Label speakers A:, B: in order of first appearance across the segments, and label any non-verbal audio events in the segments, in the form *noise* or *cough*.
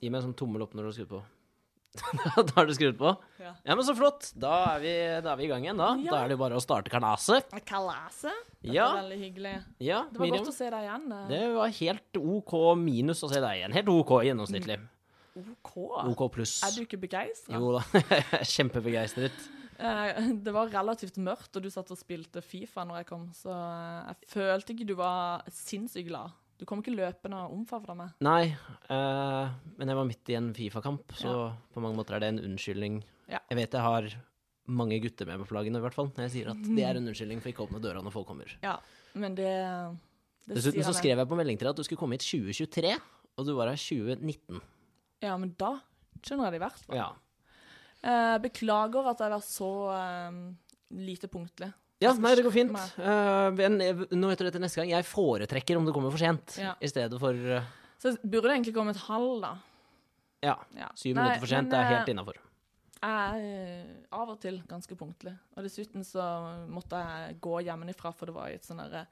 A: Gi meg en sånn tommel opp når du har skrudd på. *laughs* da har du skrudd på?
B: Ja.
A: men så flott. Da er vi, da er vi i gang igjen, da.
B: Ja.
A: Da er det jo bare å starte karnaset.
B: Kalaset. Det
A: Ja.
B: var veldig hyggelig.
A: Ja,
B: Det var
A: Miriam.
B: godt å se deg igjen. eh,
A: Det var helt OK minus å se deg igjen. Helt OK gjennomsnittlig.
B: OK.
A: OK pluss.
B: Mm. Er du ikke begeistra?
A: Jo da, *laughs* jeg er kjempebegeistret.
B: Eh, *laughs* det var relativt mørkt, og du satt og spilte Fifa når jeg kom, så eh, jeg følte ikke du var sinnssykt glad. Du kom ikke løpende og omfavna meg.
A: Nei, eh, men jeg var midt i en Fifa-kamp, så på mange måter er det en unnskyldning.
B: Ja.
A: Jeg vet jeg har mange gutter med på flaggene, i hvert fall. Når jeg sier at det er en unnskyldning for ikke å åpne døra når folk kommer.
B: Ja, men det, det
A: Dessuten
B: sier
A: så
B: jeg.
A: skrev jeg på melding til deg at du skulle komme hit 2023, og du var her 2019.
B: Ja, men da skjønner jeg det i hvert fall.
A: Ja.
B: Eh, beklager at jeg var så eh, lite punktlig.
A: Ja,
B: Jeg skal
A: nei, det går fint.
B: skjerpe meg.
A: Eh, men jeg- nå vet du det til neste gang. Jeg foretrekker om det kommer for sent,
B: Ja.
A: i stedet for eh,
B: Så jeg burde egentlig komme et halv, da.
A: Ja,
B: Ja.
A: syv
B: Nei,
A: minutter for sent.
B: men,
A: det er
B: eh,
A: helt innafor.
B: Jeg er av og til ganske punktlig. Og dessuten så måtte jeg gå hjemmefra, for det var i et sånn derre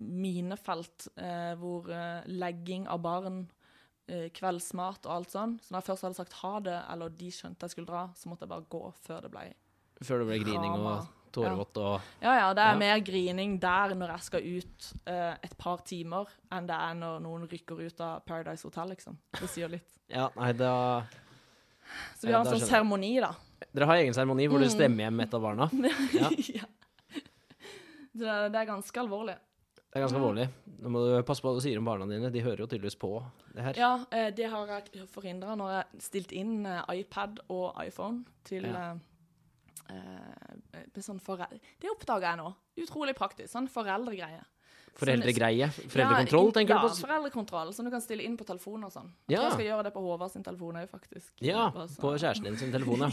B: minefelt eh, hvor eh, legging av barn, eh, kveldsmat og alt sånn. Så når jeg først hadde sagt ha det, eller de skjønte jeg skulle dra, så måtte jeg bare gå før det blei
A: Før det ble grining og
B: Drama.
A: tårevått og
B: Ja ja, det er
A: Ja.
B: mer grining der når jeg skal ut eh, et par timer, enn det er når noen rykker ut av Paradise Hotel, liksom. Det sier litt.
A: Ja, nei, da
B: Så vi har
A: Ja,
B: en
A: da skjønner
B: sånn
A: jeg.
B: seremoni, da.
A: Dere har egen seremoni hvor dere
B: Mm.
A: stemmer hjem et av barna. Ja.
B: *laughs* ja. Så det, det er ganske alvorlig.
A: Det
B: Mm.
A: er ganske alvorlig. Nå må du passe på hva du sier om barna dine. De hører jo tydeligvis på det her.
B: Ja, eh, det har jeg forhindra når jeg stilte inn eh, iPad og iPhone til
A: Ja.
B: eh, eh, med sånn forel Det oppdaga jeg nå. Utrolig praktisk. Sånn foreldregreie. Sånn
A: Foreldregreie. Foreldrekontroll,
B: ja,
A: tenker
B: ja,
A: du på?
B: foreldrekontroll, som du kan stille inn på telefonen og sånn.
A: Ja.
B: Jeg tror jeg skal gjøre det på Håvard sin telefon òg, faktisk.
A: Ja,
B: Bare så-
A: på kjæresten din sin telefon, ja.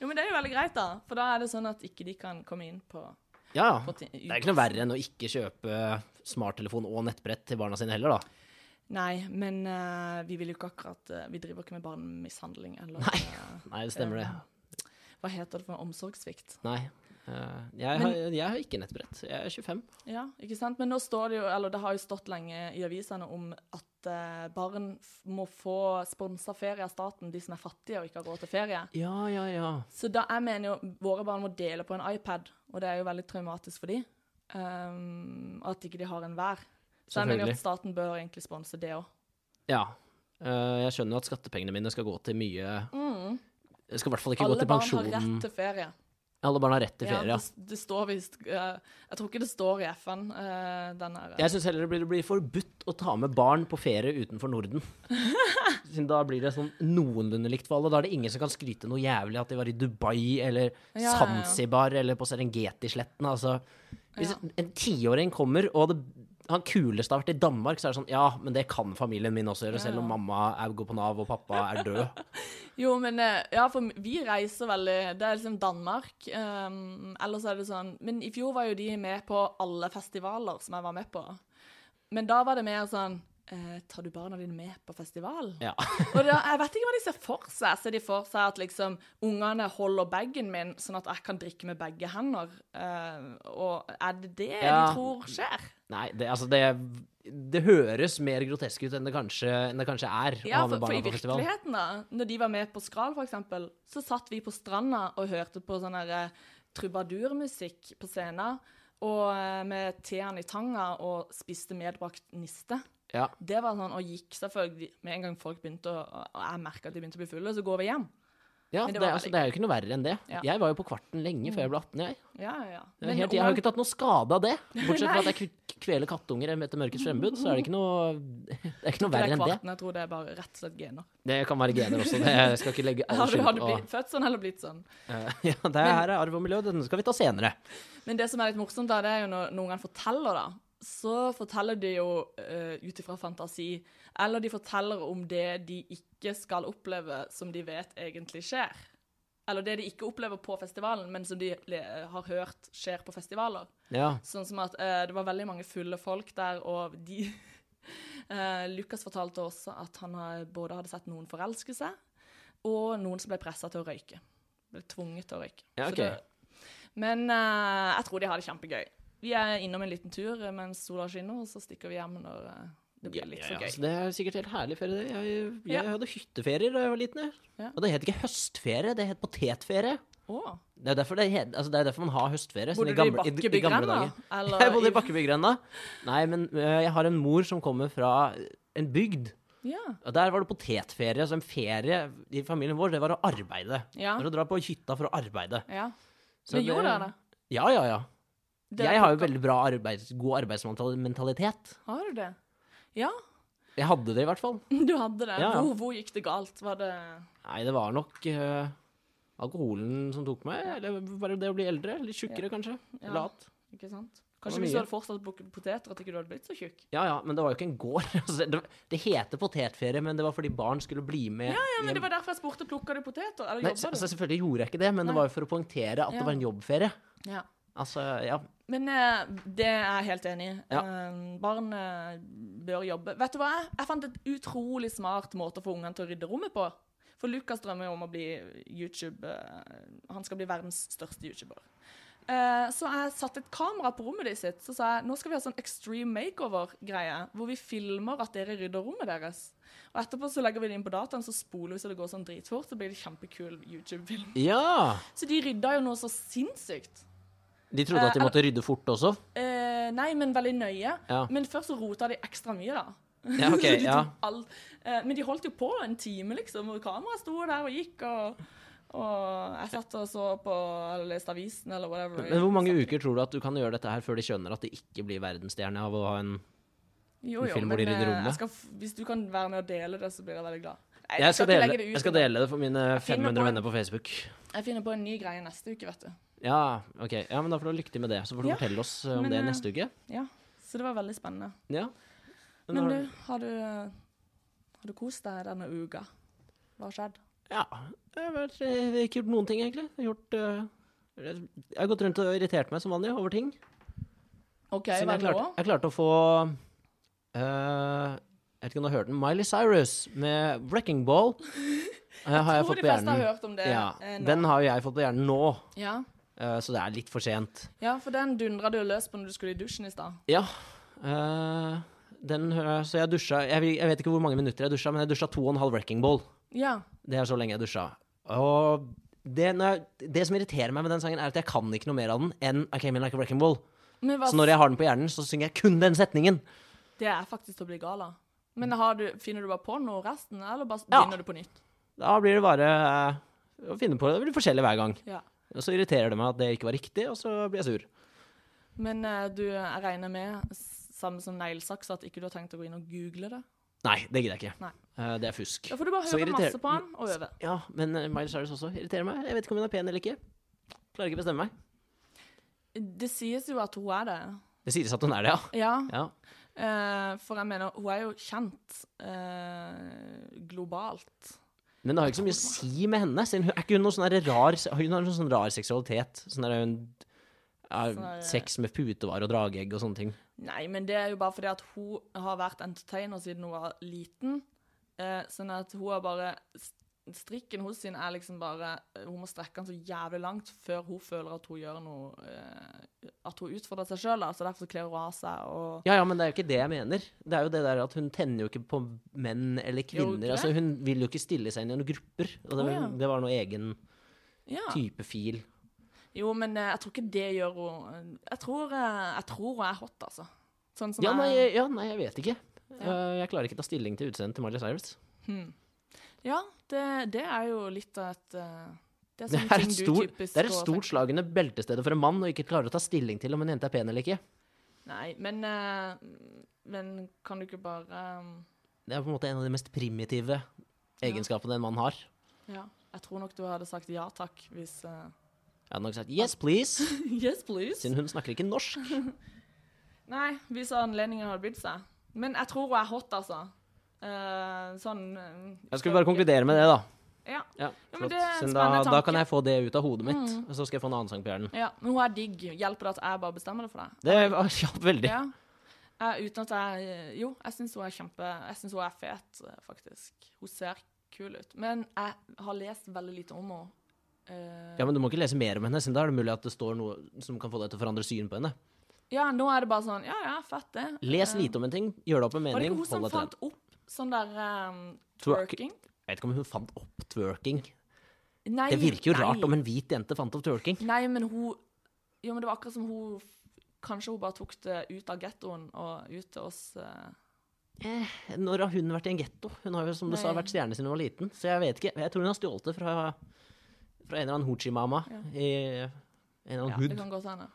B: Jo, men det er jo veldig greit, da. For da er det sånn at ikke de kan komme inn på,
A: ja.
B: *laughs* på
A: Det er ikke noe verre enn å ikke kjøpe smarttelefon og nettbrett til barna sine heller, da.
B: Nei, men eh, vi vil jo ikke akkurat eh, Vi driver ikke med barnemishandling eller
A: Nei.
B: eh,
A: Nei, det stemmer det.
B: Hva heter det for noe? Omsorgssvikt.
A: Nei. Eh, Jeg har, jeg har ikke nettbrett. Jeg er 25.
B: Ja, ikke sant? Men nå står det jo, eller det har jo stått lenge i avisene om at eh, barn f må få sponsa ferie av staten, de som er fattige og ikke har råd til ferie.
A: Ja, ja, ja.
B: Så da jeg mener jo våre barn må dele på en iPad, og det er jo veldig traumatisk for de. Um, at ikke de har en hver. Så jeg mener jo
A: Selvfølgelig.
B: at staten bør egentlig sponse det òg.
A: Ja. Eh, Jeg skjønner jo at skattepengene mine skal gå til mye Det skal i hvert fall ikke gå
B: Mm. Alle
A: til
B: barn har
A: pensjonen.
B: rett til ferie.
A: Alle barn har rett til
B: Ja,
A: ferie.
B: det,
A: Ja,
B: det står visst eh, Jeg tror ikke det står i FN, eh, den her.
A: Jeg syns heller det blir, det blir forbudt å ta med barn på ferie utenfor
B: *laughs*
A: Norden. Siden da blir det sånn noenlunde likt for alle. Da er det ingen som kan skryte noe jævlig at de var i Dubai eller
B: Ja, ja, ja.
A: Zanzibar eller på Serengeti-sletten. Altså, hvis
B: Ja.
A: en tiåring kommer, og det, han kuleste har vært i Danmark, så er det sånn Ja, men det kan familien min også gjøre, selv om mamma er, går på Nav og pappa er død.
B: *laughs* Jo, men eh, ja, for vi reiser veldig Det er liksom Danmark. Um, ellers er det sånn Men i fjor var jo de med på alle festivaler som jeg var med på. Men da var det mer sånn eh, Tar du barna dine med på festival?
A: Ja.
B: Og da, jeg vet ikke hva de ser for seg. Ser de for seg at liksom ungene holder bagen min, sånn at jeg kan drikke med begge hender? Eh, og er det det
A: Ja.
B: de tror skjer?
A: Nei, det, altså det det høres mer grotesk ut enn det kanskje, enn det kanskje er
B: Ja,
A: å ha med
B: for, for
A: barna
B: i
A: på festival.
B: virkeligheten, da, når de var med på Skral, for eksempel, så satt vi på stranda og hørte på sånn her eh, trubadurmusikk på scenen, og eh, med teen i tanga og spiste medbrakt niste.
A: Ja.
B: Det var sånn, og gikk selvfølgelig Med en gang folk begynte å Og jeg merka at de begynte å bli fulle, så går vi hjem.
A: Ja, det,
B: Men det var
A: er- altså,
B: veldig
A: det er jo ikke noe verre enn det.
B: Ja. Mm.
A: Jeg var jo på kvarten lenge før jeg ble 18, jeg.
B: Ja, ja.
A: Det er helt, jeg har jo ikke tatt noe skade
B: *laughs*
A: av det. Bortsett fra at jeg k- kveler kattunger etter mørkets frembud, så er det ikke noe, *laughs* det er ikke noe verre enn det.
B: kvarten, jeg tror det er bare rett og slett gener.
A: Det kan være gener også, det jeg skal
B: *laughs*
A: ikke legge all
B: Har du,
A: skyld
B: har du
A: på.
B: blitt født sånn eller blitt sånn?
A: Eh, *laughs* Ja, det her er arv og miljø, den skal vi ta senere.
B: Men det som er litt morsomt, da, det er jo når noen ganger forteller, da. Så forteller de jo uh, ut ifra fantasi. Eller de forteller om det de ikke skal oppleve, som de vet egentlig skjer. Eller det de ikke opplever på festivalen, men som de le har hørt skjer på festivaler.
A: Ja,
B: Sånn som at eh, det var veldig mange fulle folk der, og de *laughs* Eh, Lukas fortalte også at han har- både hadde sett noen forelske seg, og noen som ble pressa til å røyke. Ble tvunget til å røyke.
A: Ja,
B: Så
A: ok.
B: det- men eh, jeg tror de har det kjempegøy. Vi er innom en liten tur eh, mens sola skinner, og så stikker vi hjem når eh, Det blir litt så
A: Ja,
B: gøy.
A: så det er sikkert helt herlig ferie. det. Jeg, jeg
B: Ja.
A: hadde hytteferier da jeg var liten. jeg.
B: Ja.
A: Og det het ikke høstferie, det het potetferie.
B: Å,
A: Det er derfor, det het, altså det er derfor man har høstferie. sånn
B: Bodde
A: i
B: du i
A: gamle- i- i
B: Bakkebygrend,
A: gamle
B: da?
A: dager. *laughs*
B: Eller
A: Jeg bodde i Bakkebygrenda. Nei, men øh, jeg har en mor som kommer fra en bygd.
B: Ja.
A: Og der var det potetferie. Så en ferie i familien vår, det var å arbeide.
B: Ja.
A: Det var å dra på hytta for å arbeide.
B: ja.
A: Så
B: Men gjorde dere det?
A: Ja, ja, ja.
B: Dere
A: jeg har jo
B: plukket-
A: veldig bra arbeids, god arbeidsmentalitet.
B: Har du det? *laughs* Ja,
A: Jeg hadde det i hvert fall.
B: du hadde det.
A: Ja, ja.
B: Hvor, hvor gikk det galt? Var det
A: Nei, det var nok øh, alkoholen som tok meg. Eller bare det å bli eldre. Litt tjukkere, kanskje.
B: Ja.
A: Lat.
B: Ikke sant?
A: var
B: Kanskje hvis du
A: mye.
B: hadde fortsatt å plukke poteter, at ikke du hadde blitt så tjukk?
A: Ja ja, men det var jo ikke en gård. *laughs* Altså, det, det heter potetferie, men det var fordi barn skulle bli med
B: Ja,
A: i
B: men
A: en
B: Det var derfor jeg spurte plukka du poteter. Eller
A: Nei,
B: jobba
A: altså, selvfølgelig gjorde jeg ikke det, men det
B: Nei.
A: var jo for å poengtere at
B: Ja.
A: det var en jobbferie.
B: du? Ja.
A: Altså, ja.
B: Men eh, det er jeg helt enig i.
A: Ja.
B: Eh, barn eh, bør jobbe. Vet du hva? Jeg, jeg fant et utrolig smart måte å få ungene til å rydde rommet på. For Lukas drømmer jo om å bli YouTube eh, Han skal bli verdens største YouTuber. Eh, så jeg satte et kamera på rommet ditt sitt, så sa jeg nå skal vi ha sånn extreme makeover-greie, hvor vi filmer at dere rydder rommet deres. Og etterpå så legger vi det inn på dataen, så spoler vi så det går sånn dritfort, så blir det kjempekul YouTube-film.
A: ja!
B: Så de rydda jo noe så sinnssykt.
A: De trodde
B: Eh,
A: at de måtte rydde fort også.
B: Eh, nei, men veldig nøye.
A: Ja.
B: Men først så rota de ekstra mye, da.
A: Ja, ok,
B: Så *laughs* de tok
A: ja.
B: alt. Eh, men de holdt jo på en time, liksom. Og kameraet sto der og gikk, og, og jeg satt og så på eller leste avisen eller whatever.
A: Men hvor mange uker tror du at du kan gjøre dette her før de skjønner at de ikke blir verdensstjerne av å ha en
B: jo,
A: en
B: jo,
A: film hvor de
B: men,
A: rydder
B: eh,
A: rommet?
B: jeg Skal, f- hvis du kan være med og dele det, så blir jeg veldig glad. Nei,
A: Jeg skal,
B: ikke
A: dele,
B: legge det ut,
A: jeg skal
B: men
A: dele det for mine 500
B: finner på en-
A: venner på Facebook.
B: Jeg finner på en ny greie neste uke, vet du.
A: Ja, ok. Ja, men da får du ha lykke til med det. Så får du
B: Ja,
A: fortelle oss eh, om
B: men,
A: det
B: eh,
A: neste uke.
B: Ja, Så det var veldig spennende.
A: Ja. Men
B: Men
A: har-
B: du, har du, eh, har du kost deg denne uka? Hva har skjedd?
A: Ja. Jeg har vært- jeg har ikke gjort noen ting, egentlig. Jeg har, gjort, eh, jeg har gått rundt og irritert meg som vanlig over ting.
B: OK,
A: Siden
B: hva
A: jeg,
B: nå?
A: klarte, jeg klarte å få eh, Jeg vet ikke om du har hørt den? Miley Cyrus med 'Wrecking Ball'.
B: *laughs*
A: eh, har jeg
B: tror
A: fått
B: de
A: på
B: fleste har
A: hjernen.
B: hørt om det
A: Ja,
B: eh, nå.
A: den har jo jeg fått på hjernen nå,
B: Ja.
A: eh, så det er litt for sent.
B: ja, for den dundra du løs på når du skulle i dusjen i stad.
A: Ja. eh, den, eh, så jeg dusja jeg, vil- jeg vet ikke hvor mange minutter jeg dusja, men jeg dusja to og en halv 'Wrecking Ball'.
B: Ja.
A: Det er så lenge jeg dusja. Og det, når jeg, det som irriterer meg med den sangen, er at jeg kan ikke noe mer av den enn I came in like a wrecking ball.
B: Men hva,
A: Så når jeg har den på hjernen, så synger jeg kun den setningen.
B: Det er faktisk til å bli gal av. Men har du, finner du bare på noe resten, eller bare
A: Ja.
B: begynner du på nytt?
A: Da blir det bare eh, å finne på det. Det blir forskjellig hver gang.
B: Ja.
A: Og så irriterer det meg at det ikke var riktig, og så blir jeg sur.
B: Men eh, du, jeg regner med, s- samme som neglesaks, at ikke du har tenkt å gå inn og google det?
A: Nei, det gidder jeg ikke.
B: Nei.
A: Eh, det er fusk.
B: Da får du bare
A: Så
B: høre
A: irriter-
B: masse på han og øve.
A: Ja, men eh, Miley Cyrus også irriterer meg. Jeg vet ikke om hun er pen eller ikke. Klarer ikke å bestemme meg.
B: Det sies jo at hun er det.
A: Det sies at hun er det, ja.
B: Ja,
A: ja.
B: eh, for jeg mener, hun er jo kjent eh, globalt.
A: Men det har jo ikke så mye å si med henne. Siden hun, er ikke hun noe sånn der rar Hun har noe sånn rar seksualitet. Sånn der hun ja,
B: Sånn der-
A: Sex med putevarer og drageegg og sånne ting.
B: Nei, men det er jo bare fordi at hun har vært entertainer siden hun var liten. Eh, sånn at hun har bare Strikken hos sin er liksom bare Hun må strekke den så jævlig langt før hun føler at hun gjør noe eh, At hun utfordrer seg sjøl, da. Så derfor så kler hun av seg og
A: Ja, ja, men det er jo ikke det jeg mener. Det er jo det der at hun tenner jo ikke på menn eller
B: Gjør hun
A: kvinner.
B: ikke
A: altså, hun vil jo ikke stille seg inn i noen grupper. Og det,
B: Å,
A: var-
B: ja. Ah.
A: det var noe egen
B: Ja.
A: type fil.
B: Jo, men eh, jeg tror ikke det gjør hun Jeg tror, eh, jeg tror hun er hot, altså. Sånn som
A: Ja nei,
B: jeg
A: ja, nei, jeg vet ikke. Eh, Jeg klarer ikke ta stilling til utseendet til Miley Cyrus.
B: Ja, det, det er jo litt av et eh, Det
A: *laughs* Det
B: er sånne
A: er
B: ting
A: et,
B: du
A: stor,
B: typisk
A: det er et
B: går og
A: stort
B: tenker.
A: slag under beltestedet for en mann å ikke klare å ta stilling til om en jente er pen eller ikke.
B: Nei, men, eh, men kan du ikke bare eh,
A: Det er på en måte en av de mest primitive egenskapene en mann har.
B: Ja, jeg tror nok du hadde sagt ja takk hvis eh,
A: Jeg hadde nok sagt yes, please,
B: *laughs* Yes, please.
A: siden hun snakker ikke norsk.
B: Nei, hvis anledningen hadde bydd seg. Men jeg tror hun er hot, altså. Eh, sånn eh,
A: Jeg skulle bare konkludere med det, da.
B: Ja.
A: Ja,
B: Ja, men
A: flott.
B: det er en
A: Siden da,
B: spennende
A: da
B: tanke. Mm.
A: kan jeg få det ut av hodet mitt, og så skal jeg få en annen sang på hjernen.
B: ja. Men hun er digg. Hjelper det at jeg bare bestemmer det for deg?
A: *laughs* Det var- hjalp veldig.
B: Ja. Eh, uten at jeg eh, Jo, jeg syns hun er kjempe Jeg syns hun er fet, eh, faktisk. Hun ser kul ut. Men jeg har lest veldig lite om henne. Eh,
A: Ja, men du må ikke lese mer om henne, siden da er det mulig at det står noe som kan få deg til å forandre syn på henne.
B: Ja, nå er det bare sånn Ja, ja, fett, det.
A: Les
B: Eh,
A: lite om en ting, gjør deg opp en
B: Var det
A: mening,
B: ikke hun som
A: hold deg til den.
B: fant opp sånn der um,
A: Twerk-
B: twerking?
A: Jeg vet ikke om hun fant opp twerking.
B: Nei,
A: Det virker jo
B: nei.
A: rart om en hvit jente fant opp twerking.
B: Nei, men hun Jo, men det var akkurat som hun Kanskje hun bare tok det ut av gettoen og ut til oss. eh.
A: Eh, Når har hun vært i en getto? Hun har jo som du sa
B: Nei.
A: vært stjerne siden hun var liten. Så jeg vet ikke. Jeg tror hun har stjålet det fra, fra en eller annen Hoochie-mama
B: Ja.
A: i en eller annen
B: Ja, det
A: hood.
B: kan godt hende.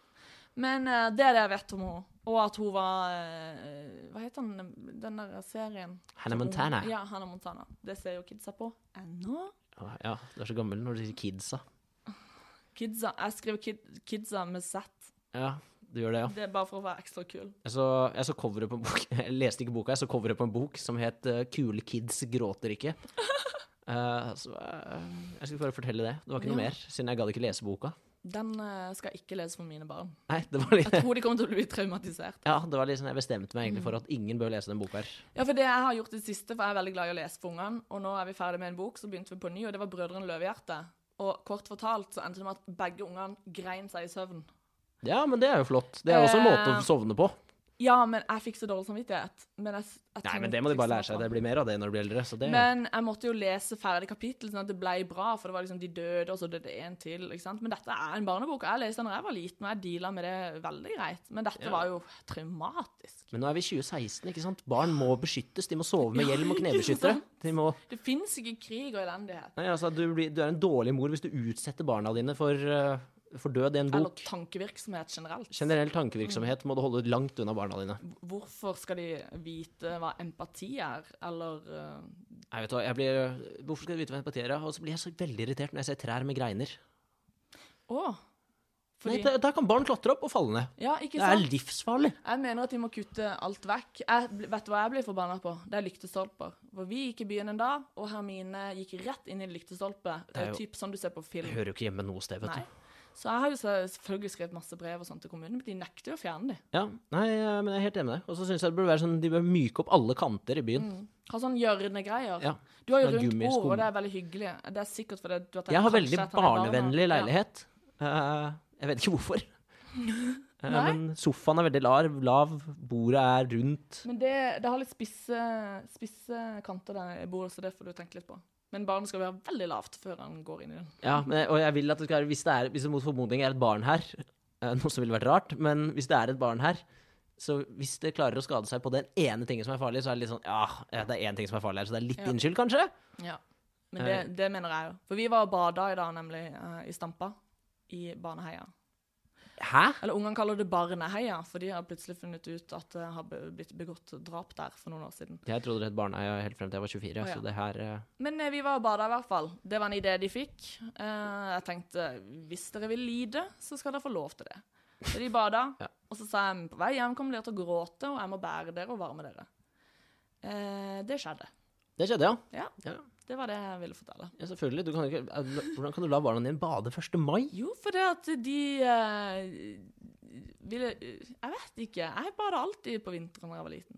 B: Men eh, det er det jeg vet om henne. Og at hun var eh, Hva heter den, den der serien?
A: Hannah Montana.
B: Ja, Hannah Montana. Det ser jo kidsa på ennå.
A: Å, Ja, du er så gammel når du sier kidsa.
B: Kidsa, Jeg skriver kid, kidsa med Z.
A: Ja, du gjør det, ja.
B: Det er bare for å være ekstra kul.
A: Jeg så, jeg så coveret på en bok *laughs* Jeg leste ikke boka, jeg så coveret på en bok som het eh, 'Kule kids gråter *laughs* ikke'. Eh, så eh, jeg skulle bare fortelle det. Det var ikke noe
B: Ja.
A: mer, siden jeg gadd ikke lese boka.
B: Den eh, skal jeg ikke lese for mine barn.
A: Nei, det var litt *laughs*
B: Jeg tror de kommer til å bli traumatisert.
A: Ja, det var litt sånn jeg bestemte meg egentlig for at ingen bør lese den boka her.
B: Ja, for det jeg har gjort det siste, for jeg er veldig glad i å lese for ungene, og nå er vi ferdig med en bok, så begynte vi på ny, og det var Brødrene Løvehjerte. Og kort fortalt så endte det med at begge ungene grein seg i søvn.
A: Ja, men det er jo flott. Det er jo også en måte
B: Eh,
A: å sovne på.
B: Ja, men jeg fikk så dårlig samvittighet. Men jeg, s-
A: Nei,
B: jeg tvang-
A: men det må de
B: fikk
A: bare lære seg.
B: samvittighet.
A: Det blir mer av det når de blir eldre. Så det
B: Men jeg måtte jo lese ferdig kapittel, sånn at det ble bra, for det var liksom de døde, og så døde en til, ikke sant? Men dette er en barnebok, og jeg leste den da jeg var liten, og jeg dealet med det veldig greit. Men dette
A: Ja.
B: var jo traumatisk.
A: Men nå er vi i 2016, ikke sant? Barn må beskyttes. De må sove med hjelm og
B: ikke
A: knebeskyttere.
B: sant?
A: De må
B: Det finnes ikke krig og elendighet,
A: Nei, altså, du, blir, du er en dårlig mor hvis du utsetter barna dine for, eh, for død i en
B: eller
A: bok.
B: tankevirksomhet generelt.
A: Generell tankevirksomhet må du holde langt unna barna dine.
B: Hvorfor skal de vite hva empati er, eller eh,
A: Nei, vet du hva, jeg blir, eh, Hvorfor skal du vite hva empati er? Og så blir jeg så veldig irritert når jeg ser trær med greiner.
B: Å! Fordi
A: Nei, der, der kan barn klatre opp og falle ned.
B: Ja, ikke
A: Det er
B: sant?
A: livsfarlig.
B: Jeg mener at de må kutte alt vekk. Jeg, bl- vet du hva jeg blir forbanna på? Det er lyktestolper. For vi gikk i byen en dag, og Hermine gikk rett inn i en lyktestolpe.
A: Det er
B: eh,
A: jo-
B: Typ sånn du ser på
A: Det
B: film.
A: hører jo ikke hjemme noe sted, vet
B: Nei.
A: du.
B: Så jeg har jo så- selvfølgelig skrevet masse brev og sånt til kommunen, men de nekter jo å fjerne dem.
A: Ja, nei, eh, men jeg er helt enig med deg. Og så syns jeg det burde være sånn, de bør myke opp alle kanter i byen.
B: Har sånn gjørnegreier.
A: Ja.
B: Du har jo
A: Sånn
B: rundt
A: gummiskum.
B: bord, og det er veldig hyggelig. Det er sikkert fordi du har tenkt
A: Jeg har
B: kanskje
A: veldig
B: at han er barn,
A: barnevennlig
B: da.
A: leilighet. Eh, jeg vet ikke
B: *laughs*
A: hvorfor. Eh,
B: Nei.
A: men sofaen er veldig lav, lav, bordet er rundt.
B: Ja. Men det, det har litt spisse, spisse kanter der i bordet, så det får du tenke litt på. Men barnet skal være veldig lavt før han går inn i den.
A: Ja, men, jeg- og jeg vil at det skal være, hvis det, er, hvis det mot formodning er et barn her, eh, noe som ville vært rart, men hvis det er et barn her, så hvis det klarer å skade seg på den ene tingen som er farlig, så er det litt sånn, ja, ja, det er én ting som er farlig her, så det er litt
B: Ja.
A: din skyld, kanskje?
B: Ja, men det, det mener jeg jo. For vi var og bada i dag, nemlig, eh, i Stampa. I Baneheia.
A: Hæ?
B: Eller ungene kaller det Barneheia, for de har plutselig funnet ut at det har be- blitt begått drap der for noen år siden.
A: Jeg trodde det het barneheia helt frem til jeg var 24,
B: Å, ja.
A: så det her eh,
B: Men eh, vi var og bada i hvert fall. Det var en idé de fikk. Eh, jeg tenkte hvis dere vil lide, så skal dere få lov til det. Så de bada,
A: *laughs* Ja.
B: og så sa jeg på vei hjem kommer dere til å gråte, og jeg må bære dere og varme dere. Eh, det skjedde.
A: Det skjedde, ja.
B: Ja,
A: ja.
B: det var det jeg ville fortelle.
A: Ja, selvfølgelig. Du kan ikke, eh, hvordan kan du la barna dine bade 1. mai?
B: Jo, for det at de eh, ville Jeg vet ikke. Jeg bada alltid på vinteren da jeg var liten.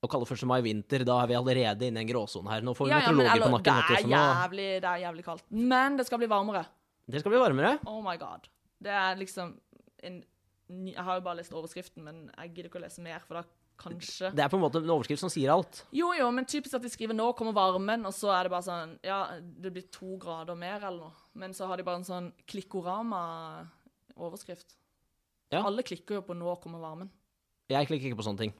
A: Å kalle 1. mai vinter, da er vi allerede inne i en gråsone her. Nå får vi
B: Ja, ja, men
A: meteorologer på
B: eller, det,
A: nakken. vet du,
B: er
A: så nå-
B: jævlig, det er jævlig kaldt. Men det skal bli varmere.
A: Det skal bli varmere.
B: Oh my god. Det er liksom en ny, Jeg har jo bare lest overskriften, men jeg gidder ikke å lese mer, for da kanskje
A: Det er på en måte en overskrift som sier alt.
B: Jo, jo, men typisk at de skriver 'nå kommer varmen', og så er det bare sånn Ja, det blir to grader mer eller noe. Men så har de bare en sånn klikkorama-overskrift.
A: Ja.
B: Alle klikker jo på 'nå kommer varmen'.
A: Jeg klikker ikke på sånne ting.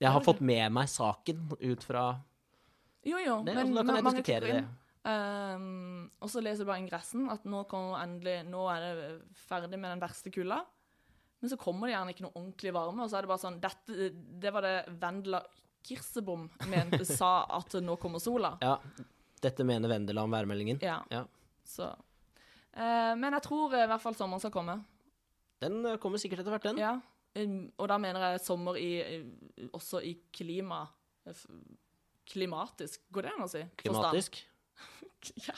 A: Jeg har
B: Gjør du
A: fått med meg saken ut fra
B: Jo, jo,
A: det, altså, Da kan
B: ma-
A: jeg
B: mange
A: diskutere
B: klikker
A: det.
B: inn. Ehm, og så leser jeg bare ingressen at nå, kommer endelig, nå er det ferdig med den verste kulda. Men så kommer det gjerne ikke noe ordentlig varme, og så er det bare sånn dette, Det var det Vendela Kirsebom mente, sa at nå kommer sola.
A: Ja, dette mener Vendela om værmeldingen.
B: Ja.
A: Ja.
B: Så. Eh, men jeg tror eh, i hvert fall sommeren skal komme.
A: Den ø, kommer sikkert etter hvert, den.
B: Ja. Um, og da mener jeg sommer i, i- også i klima... f- Klimatisk, går det an å si? Forstand.
A: Klimatisk.
B: *laughs* Ja.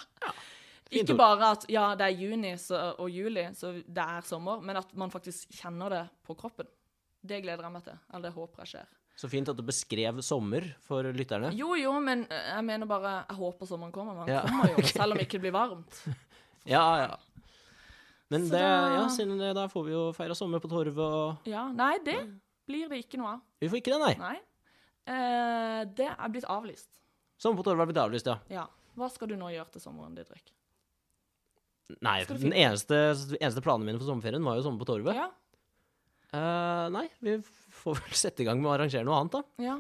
A: Fint
B: Ikke
A: ord.
B: bare at ja, det er juni så, og juli, så det er sommer, men at man faktisk kjenner det på kroppen. Det gleder jeg meg til. Eller det håper jeg skjer.
A: Så fint at du beskrev sommer for lytterne.
B: Jo, jo, men eh, jeg mener bare Jeg håper sommeren kommer. men Den
A: Ja,
B: kommer jo, selv om ikke det blir varmt.
A: Ja, ja. Men
B: Så
A: det,
B: da-
A: ja, siden det, da får vi jo feira sommer på torvet og
B: Ja, nei, det blir det ikke noe av.
A: Vi får ikke det, nei.
B: Nei. Eh, det er blitt avlyst.
A: Sommer på torvet har blitt avlyst, ja.
B: Ja. Hva skal du nå gjøre til sommeren, Didrik?
A: Nei,
B: Skal du
A: den eneste, eneste planen min for sommerferien var jo sommer på torvet.
B: Ja,
A: Eh, nei, vi får vel sette i gang med å arrangere noe annet, da.
B: ja.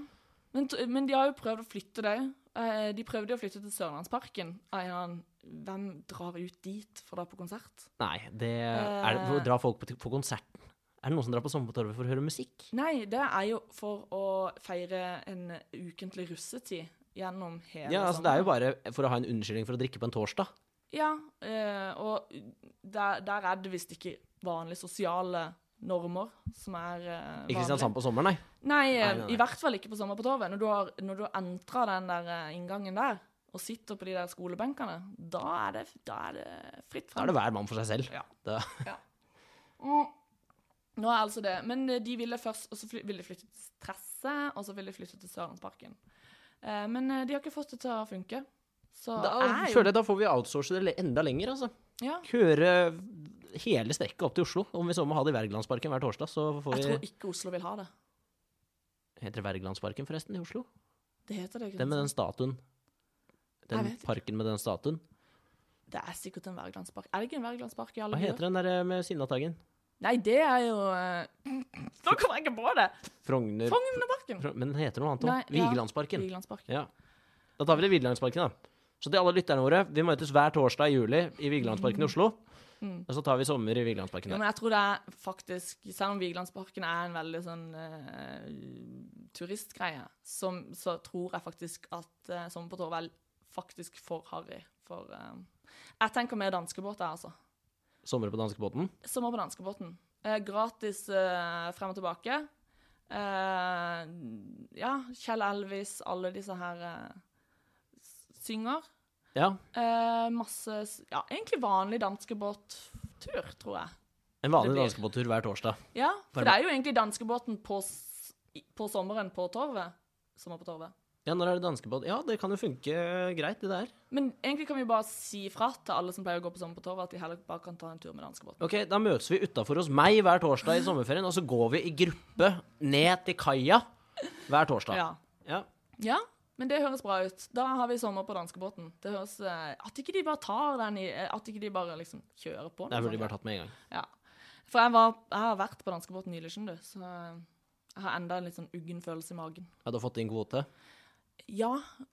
B: Men, t- men de har jo prøvd å flytte deg. Eh, de prøvde jo å flytte til Sørlandsparken. av en eller annen- Hvem drar ut dit for å dra på konsert?
A: Nei, det er det,
B: Eh.
A: Dra folk på, på konserten. Er det noen som drar på Sommer på torvet for å høre musikk?
B: Nei, det er jo for å feire en ukentlig russetid gjennom hele
A: Ja, altså Det er jo bare for å ha en unnskyldning for å drikke på en torsdag.
B: Ja, eh, og der, der er det visst ikke vanlige sosiale normer som er eh, vanlige.
A: Ikke Kristiansand på sommeren, nei.
B: Nei,
A: Nei,
B: eh,
A: nei, nei.
B: i hvert fall ikke på Sommer på torvet. Når du har, når du har entra den der eh, inngangen der, og sitter på de der skolebenkene, da er det, da er det fritt
A: Da
B: frem.
A: er det hver mann for seg selv.
B: Ja.
A: Da-
B: Mm. Nå er altså det. Men eh, de ville først Og så fly, ville de flytte til Tresse, og så ville de flytte til Sørlandsparken. Eh, men eh, de har ikke fått det til å funke. Så
A: *laughs* Da
B: er jo
A: føler jeg da får vi outsource det le- enda lenger, altså.
B: ja,
A: Køre hele strekket opp til Oslo. Om vi så må ha det i Wergelandsparken hver torsdag, så får vi
B: Jeg tror ikke Oslo vil ha det.
A: Heter det Wergelandsparken, forresten, i Oslo?
B: Det heter det ikke.
A: Den med den
B: sant?
A: statuen.
B: sånn. Jeg
A: Den
B: vet ikke.
A: parken med den statuen.
B: Det er sikkert en Wergelandspark. Er det ikke en Wergelandspark i alle
A: Hva
B: byer?
A: heter den der eh, med Sinnataggen?
B: Nei, det er jo *clears throat* uh... Da kommer jeg ikke på det!
A: Frogner
B: Frognerparken.
A: Frog- Men den heter noe annet
B: Nei,
A: òg.
B: ja.
A: Vigelandsparken.
B: Vigelandsparken.
A: Ja. Da tar vi det i Vigelandsparken, da. Så til alle lytterne våre, vi møtes hver torsdag i juli i Vigelandsparken i Oslo.
B: Mm.
A: Og så tar vi sommer i Vigelandsparken
B: Ja,
A: der.
B: men jeg tror det er faktisk Selv om Vigelandsparken er en veldig sånn eh, turistgreie, som, så tror jeg faktisk at eh, Sommer på Torvell faktisk for harry. For eh, jeg tenker mer danskebåt, jeg, altså.
A: Sommer på danskebåten.
B: Sommer på danskebåten. Eh, gratis eh, frem og tilbake. Eh, ja, Kjell Elvis, alle disse her eh, s- synger.
A: Ja.
B: Eh, masse s- Ja, egentlig vanlig danskebåttur, tror jeg.
A: En vanlig
B: Det blir-
A: danskebåttur hver torsdag.
B: Ja, for
A: Bare-
B: det er jo egentlig danskebåten på, s- i- på sommeren på torvet. Sommer på torvet.
A: Ja, når er det danskebåt? Ja, det kan jo funke eh, greit, det der.
B: Men egentlig kan vi bare si fra til alle som pleier å gå på Sommer på torvet, at de heller bare kan ta en tur med danskebåten.
A: Ok, da møtes vi utafor hos meg hver torsdag i sommerferien, og så går vi i gruppe ned til kaia hver torsdag.
B: Ja.
A: Ja.
B: ja, men det høres bra ut. Da har vi sommer på danskebåten. Det høres eh, At ikke de bare tar den i eh, At ikke de bare liksom kjører på.
A: Det burde de bare tatt med en gang.
B: Ja. For jeg, var, jeg har vært på danskebåten nylig, skjønner du, så jeg har enda en litt sånn uggen følelse i magen.
A: Ja, du har fått din kvote?
B: Ja.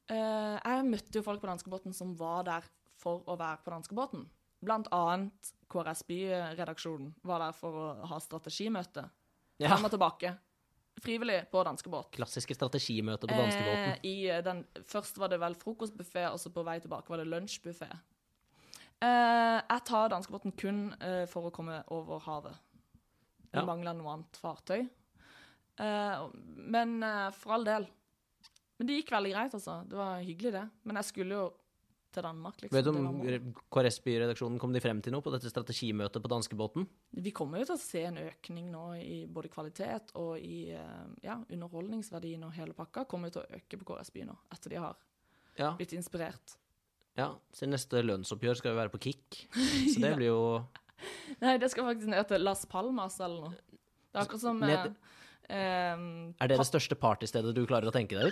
B: eh, jeg møtte jo folk på danskebåten som var der for å være på danskebåten. Blant annet KrS By-redaksjonen var der for å ha strategimøte.
A: Ja.
B: Frem og tilbake. Frivillig på danskebåt.
A: Klassiske strategimøter på danskebåten.
B: Eh, i eh, den, først var det vel frokostbuffé, og så på vei tilbake var det lunsjbuffé. Eh, jeg tar danskebåten kun eh, for å komme over havet. Vi
A: Ja.
B: mangler noe annet fartøy. Eh, og- men eh, for all del. Men det gikk veldig greit, altså. Det var hyggelig, det. Men jeg skulle jo til Danmark, liksom.
A: Vet du
B: Det var
A: om
B: målet.
A: KrS-byredaksjonen kom de frem til noe på dette strategimøtet på danskebåten?
B: Vi kommer jo til å se en økning nå i både kvalitet og i eh, ja, underholdningsverdien og hele pakka. Kommer jo til å øke på KrS By nå, etter de har
A: Ja.
B: blitt inspirert.
A: ja. Så neste lønnsoppgjør skal jo være på *laughs* Kick. Så det
B: Ja.
A: blir jo
B: Nei, det skal faktisk ned til Las Palmas eller noe. Det er akkurat som eh,
A: Ned-
B: ehm,
A: Er det det største partystedet du klarer å tenke deg ut?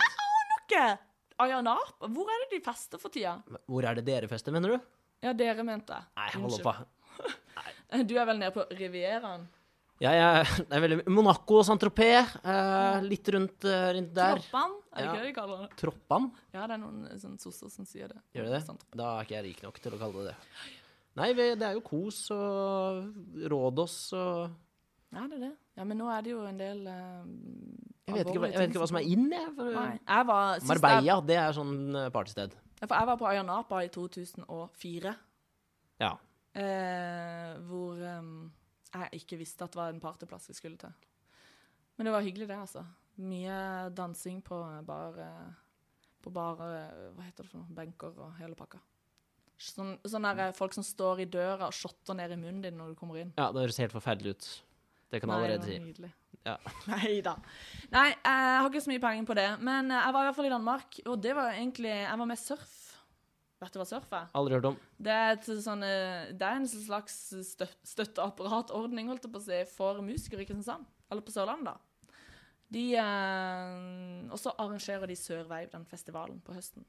B: Pakke! Ayanapa? Hvor er det de fester for tida?
A: Hvor er det dere fester, mener du?
B: Ja, dere mente jeg.
A: Nei, hold
B: Unnskyld.
A: opp, da.
B: Du er vel nede på Rivieraen?
A: Jeg er, det er veldig Monaco og Saint-Tropez. Eh, litt rundt, eh, rundt der.
B: Troppan? Er det
A: Ja.
B: ikke det de kaller det?
A: Troppan,
B: Ja, det er noen eh, sånn sosser som sier det. Sånn.
A: gjør det det?
B: Sant.
A: Da er ikke jeg rik nok til å kalle det det. Nei, vi, det er jo Kos og Rådås og
B: Ja, det er det. Ja, men nå er det jo en del eh,
A: jeg vet, ikke, hva- jeg
B: alvorlige
A: vet
B: ting
A: ikke hva som er inn, jeg.
B: Nei,
A: For,
B: jeg var, sist Jeg,
A: Marbella, det er sånn eh, partysted.
B: Ja, for jeg var på Ayanapa i 2004.
A: Ja.
B: Eh, hvor ehm, jeg ikke visste at det var en partyplass vi skulle til. Men det var hyggelig, det, altså. Mye dansing på bar eh, På bar eh, Hva heter det for noe? Benker og hele pakka. Sånn, sånn der, eh, folk som står i døra og shotter ned i munnen din når du kommer inn.
A: Ja, det høres helt forferdelig ut. Det kan jeg allerede
B: det
A: si.
B: var nydelig.
A: Ja.
B: *laughs* Nei da. Nei, jeg har ikke så mye peiling på det. Men eh, jeg var i hvert fall i Danmark, og det var egentlig Jeg var med surf. Vet du hva surf er?
A: Aldri hørt om.
B: Det er, et sånn, eh, det er en slags støt, støtteapparatordning holdt jeg på å si, for musikere i Kristiansand. Eller på Sørlandet, da. De, eh, og så arrangerer de Sørveiv, den festivalen, på høsten.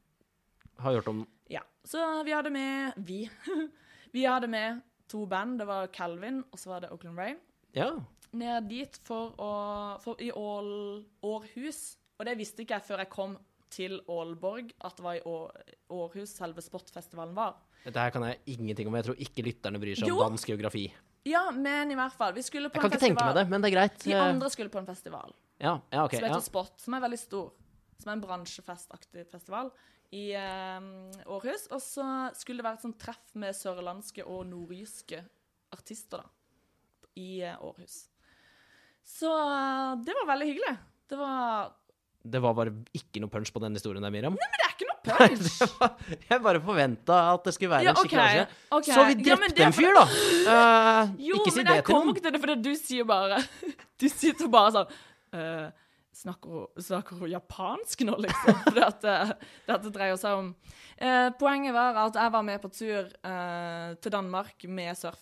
A: Har hørt om
B: Ja. Så vi hadde med Vi. *laughs* vi hadde med to band. Det var Calvin, og så var det Oakland Rain.
A: Ja.
B: Ned dit for å for, I Ål, Århus. Og det visste ikke jeg før jeg kom til Ålborg, at det var i Å- Århus selve sportfestivalen var.
A: Dette her kan jeg ingenting om. Jeg tror ikke lytterne bryr seg om
B: Jo.
A: dansk geografi.
B: Ja, men i hvert fall. Vi skulle på
A: Jeg kan
B: en
A: ikke tenke meg det, men det er greit.
B: De andre skulle på en festival
A: Ja, ja ok.
B: som heter
A: Ja.
B: Spot, som er veldig stor. Som er en bransjefestaktig festival i eh, Århus. Og så skulle det være et sånt treff med sørlandske og nordjyske artister da, i eh, Århus. Så eh, det var veldig hyggelig. Det var
A: Det var bare ikke noe punch på den historien der, Miriam.
B: Men det er ikke noe
A: *laughs*
B: punch!
A: Det var- Jeg bare forventa at det skulle være
B: Ja,
A: en skikkelig
B: ok,
A: avskjed.
B: ok.
A: Så vi
B: Ja, men
A: drepte
B: det er
A: en
B: for-
A: fyr,
B: *laughs*
A: da! Eh,
B: Jo,
A: ikke si
B: men
A: det til
B: jeg kommer
A: noen.
B: ikke til det, for du sier bare *laughs* Du sitter bare sånn «Øh, snakker, hun, snakker hun japansk nå, liksom? *laughs* For at, eh, dette dreier seg om Eh, Poenget var at jeg var med på tur eh, til Danmark med surf.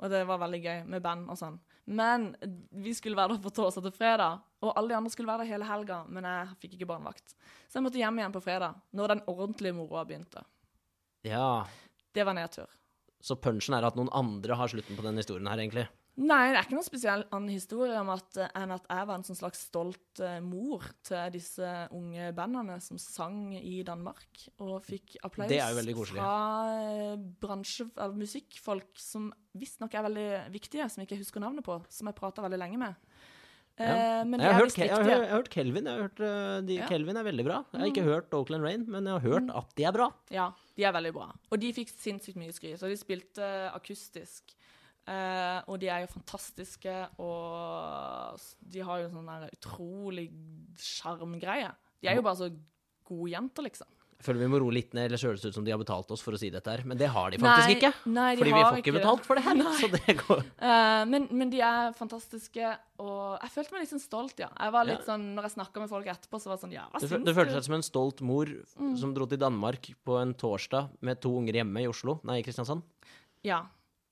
B: Og det var veldig gøy, med band og sånn. Men vi skulle være der på torsdag til fredag, og alle de andre skulle være der hele helga, men jeg fikk ikke barnevakt. Så jeg måtte hjem igjen på fredag, når den ordentlige moroa begynte.
A: Ja.
B: Det var nedtur.
A: Så punchen er at noen andre har slutten på den historien her, egentlig.
B: Nei, det er ikke noen spesiell annen historie om at, eh, enn at jeg var en sånn slags stolt eh, mor til disse unge bandene som sang i Danmark, og fikk applaus
A: Det er jo veldig koselig.
B: fra eh, bransje, eller musikkfolk som visstnok er veldig viktige, som jeg ikke husker navnet på, som jeg prata veldig lenge med. Eh,
A: Ja. Jeg
B: Men de
A: har,
B: er
A: hørt,
B: visst
A: Ke- jeg, har, hørt-
B: viktige.
A: jeg har hørt Kelvin. Jeg har hørt, eh, de,
B: Ja. Mm.
A: Kelvin er veldig bra. Jeg har ikke hørt Oakland Rain, men jeg har hørt at de er bra.
B: Ja, de er veldig bra. Og de fikk sinnssykt mye skryt, og de spilte akustisk. Eh, og de er jo fantastiske, og s- de har jo sånn der utrolig sjarmgreie. De er jo bare så gode jenter, liksom.
A: Jeg føler vi må roe litt ned, ellers høres det ut som de har betalt oss for å si dette her. Men det har de faktisk
B: Nei,
A: ikke.
B: nei, de
A: Fordi vi
B: har
A: får ikke
B: ikke det.
A: betalt for det her. Så det går
B: Eh, men, men de er fantastiske, og jeg følte meg litt sånn stolt, ja. Jeg var litt
A: Ja.
B: sånn, Når jeg snakka med folk etterpå, så var det Mm. sånn Ja, hva
A: Det,
B: syns
A: fø- det føltes som en stolt mor som dro til Danmark på en torsdag med to unger hjemme i Oslo. Nei, i Kristiansand.
B: Ja.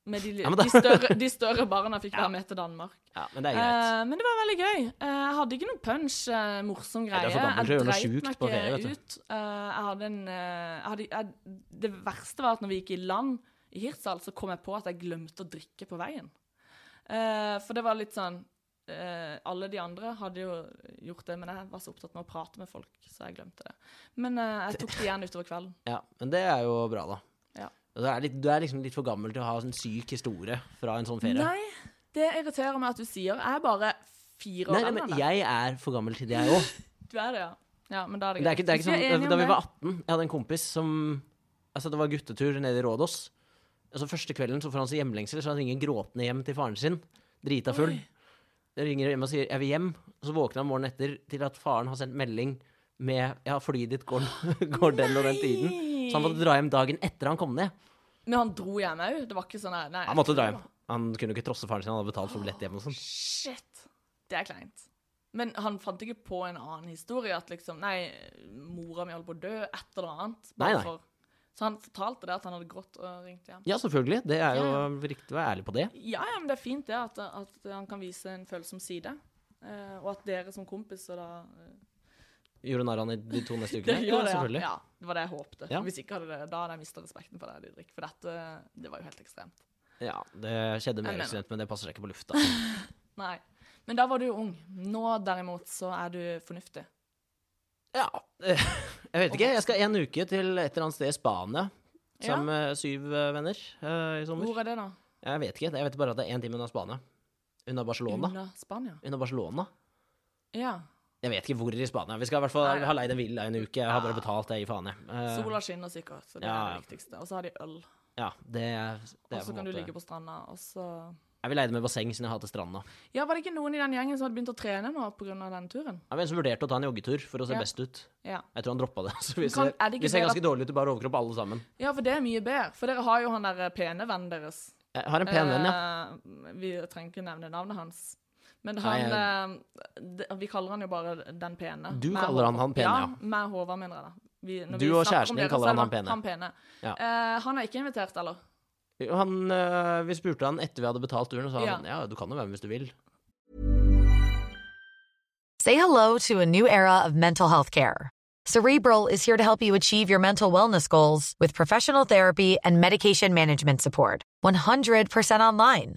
B: Men de,
A: Ja, men
B: de,
A: da-
B: større, de større
A: *laughs*
B: barna fikk være med til Danmark.
A: Ja, men det er greit.
B: Eh, men det var veldig gøy. Eh, jeg hadde ikke noen punch, eh, morsom
A: Nei,
B: greie.
A: det er for gammelt til å gjøre noe
B: Jeg dreit
A: sjukt på ferie, vet du.
B: ut. Eh, jeg hadde en, eh, jeg hadde, jeg, det verste var at når vi gikk i land i Hirtshals, så kom jeg på at jeg glemte å drikke på veien. Eh, for det var litt sånn eh, Alle de andre hadde jo gjort det, men jeg var så opptatt med å prate med folk, så jeg glemte det. Men eh, jeg tok det igjen utover kvelden.
A: Ja, men det er jo bra, da.
B: Ja.
A: Du er, litt, du er liksom litt for gammel til å ha en syk historie fra en sånn ferie.
B: Nei, det irriterer meg at du sier. Jeg er bare fire år
A: Nei, nei,
B: eldre
A: men
B: enn deg.
A: jeg er for gammel til det, jeg òg.
B: Du er det, ja. Ja, men da er det
A: Det er
B: greit.
A: ikke, det er ikke
B: Hvis vi er
A: sånn,
B: enige
A: da
B: om
A: vi
B: det-
A: var 18, jeg hadde en kompis som Altså, det var guttetur nede i Rådås. Altså, første kvelden så får han seg hjemlengsel, så han ringer gråtende hjem til faren sin. Drita full. Jeg ringer hjem og sier 'jeg vil hjem', og så våkner han morgenen etter til at faren har sendt melding med 'ja, flyet ditt går, *laughs* går den og den tiden'. Så han måtte dra hjem dagen etter han kom ned.
B: Men han dro hjem òg? Det var ikke sånn her nei,
A: Han måtte dra hjem. Han kunne jo ikke trosse faren sin, han hadde betalt for billett hjem og sånn.
B: Shit. Det er kleint. Men han fant ikke på en annen historie? At liksom Nei, mora mi holdt på å dø. Et eller annet. bare
A: Nei, nei.
B: for- Så han fortalte det at han hadde grått og ringt hjem.
A: Ja, selvfølgelig. Det er jo
B: Ja,
A: riktig å være ærlig på det.
B: Ja, ja, men det er fint det at, at han kan vise en følsom side. Eh, og at dere som kompiser da eh,
A: Gjorde narr av han i de to neste ukene?
B: Dere
A: Ja,
B: gjør *laughs* det, ja.
A: selvfølgelig.
B: ja. Det var det jeg håpte.
A: Ja.
B: Hvis ikke hadde det, da hadde jeg mista respekten for deg, Didrik. For dette det var jo helt ekstremt.
A: Ja, det skjedde
B: Jeg
A: mer
B: mener.
A: ekstremt, men det passer seg ikke på lufta.
B: Nei. Men da var du ung. Nå derimot så er du fornuftig.
A: Ja. *laughs* eh, Jeg vet ikke. Jeg skal en uke til et eller annet sted i Spania
B: Ja.
A: sammen med syv eh, venner eh, i sommer.
B: Hvor er det, da?
A: Jeg vet ikke. Jeg vet bare at det er én time unna Spania. Unna Barcelona.
B: Unna Spania?
A: Unna Barcelona.
B: Ja.
A: Jeg vet ikke hvor i Spania. Vi skal i hvert fall
B: Nei, ja. Ah.
A: ha leid en villa en uke. Jeg har bare betalt, jeg gir faen, jeg. Eh,
B: Sola skinner sikkert, så det
A: ja,
B: er
A: ja.
B: det viktigste. Og så har de øl,
A: Ja, det, det
B: og
A: er på
B: så
A: en
B: kan du
A: måte
B: ligge på stranda, og så
A: Jeg vil leide med basseng siden jeg hater stranda.
B: Ja, var det ikke noen i den gjengen som hadde begynt å trene nå pga. den turen?
A: Det var en som vurderte å ta en joggetur for å se
B: Ja.
A: best ut.
B: Ja.
A: Jeg tror han droppa det. *laughs* Så vi
B: kan-
A: ser,
B: er det ikke
A: vi ser
B: bedre
A: ganske dårlig ut i bar overkropp, alle sammen.
B: ja, for det er mye bedre. For dere har jo han der pene vennen deres.
A: Jeg har en pen venn, ja.
B: Eh, vi trenger ikke nevne navnet hans. Men
A: Nei,
B: han eh, de- Vi kaller han jo bare Den pene.
A: Du
B: Med
A: kaller han
B: Håvard.
A: han pene, ja.
B: Med Håvard, mener jeg da. Vi, når
A: Du
B: vi
A: og
B: snakker om
A: kjæresten din
B: dere, så
A: kaller han
B: er
A: han
B: det
A: pene.
B: Han, pene. Eh, han er ikke invitert, eller?
A: Han, øh, vi spurte han etter vi hadde betalt turen, og sa
B: Ja.
A: han ja, du kan jo være med hvis du vil.
C: Say hello to a new era of mental health care. Cerebral is here to help you achieve your mental wellness goals with professional therapy and medication management support. 100% online.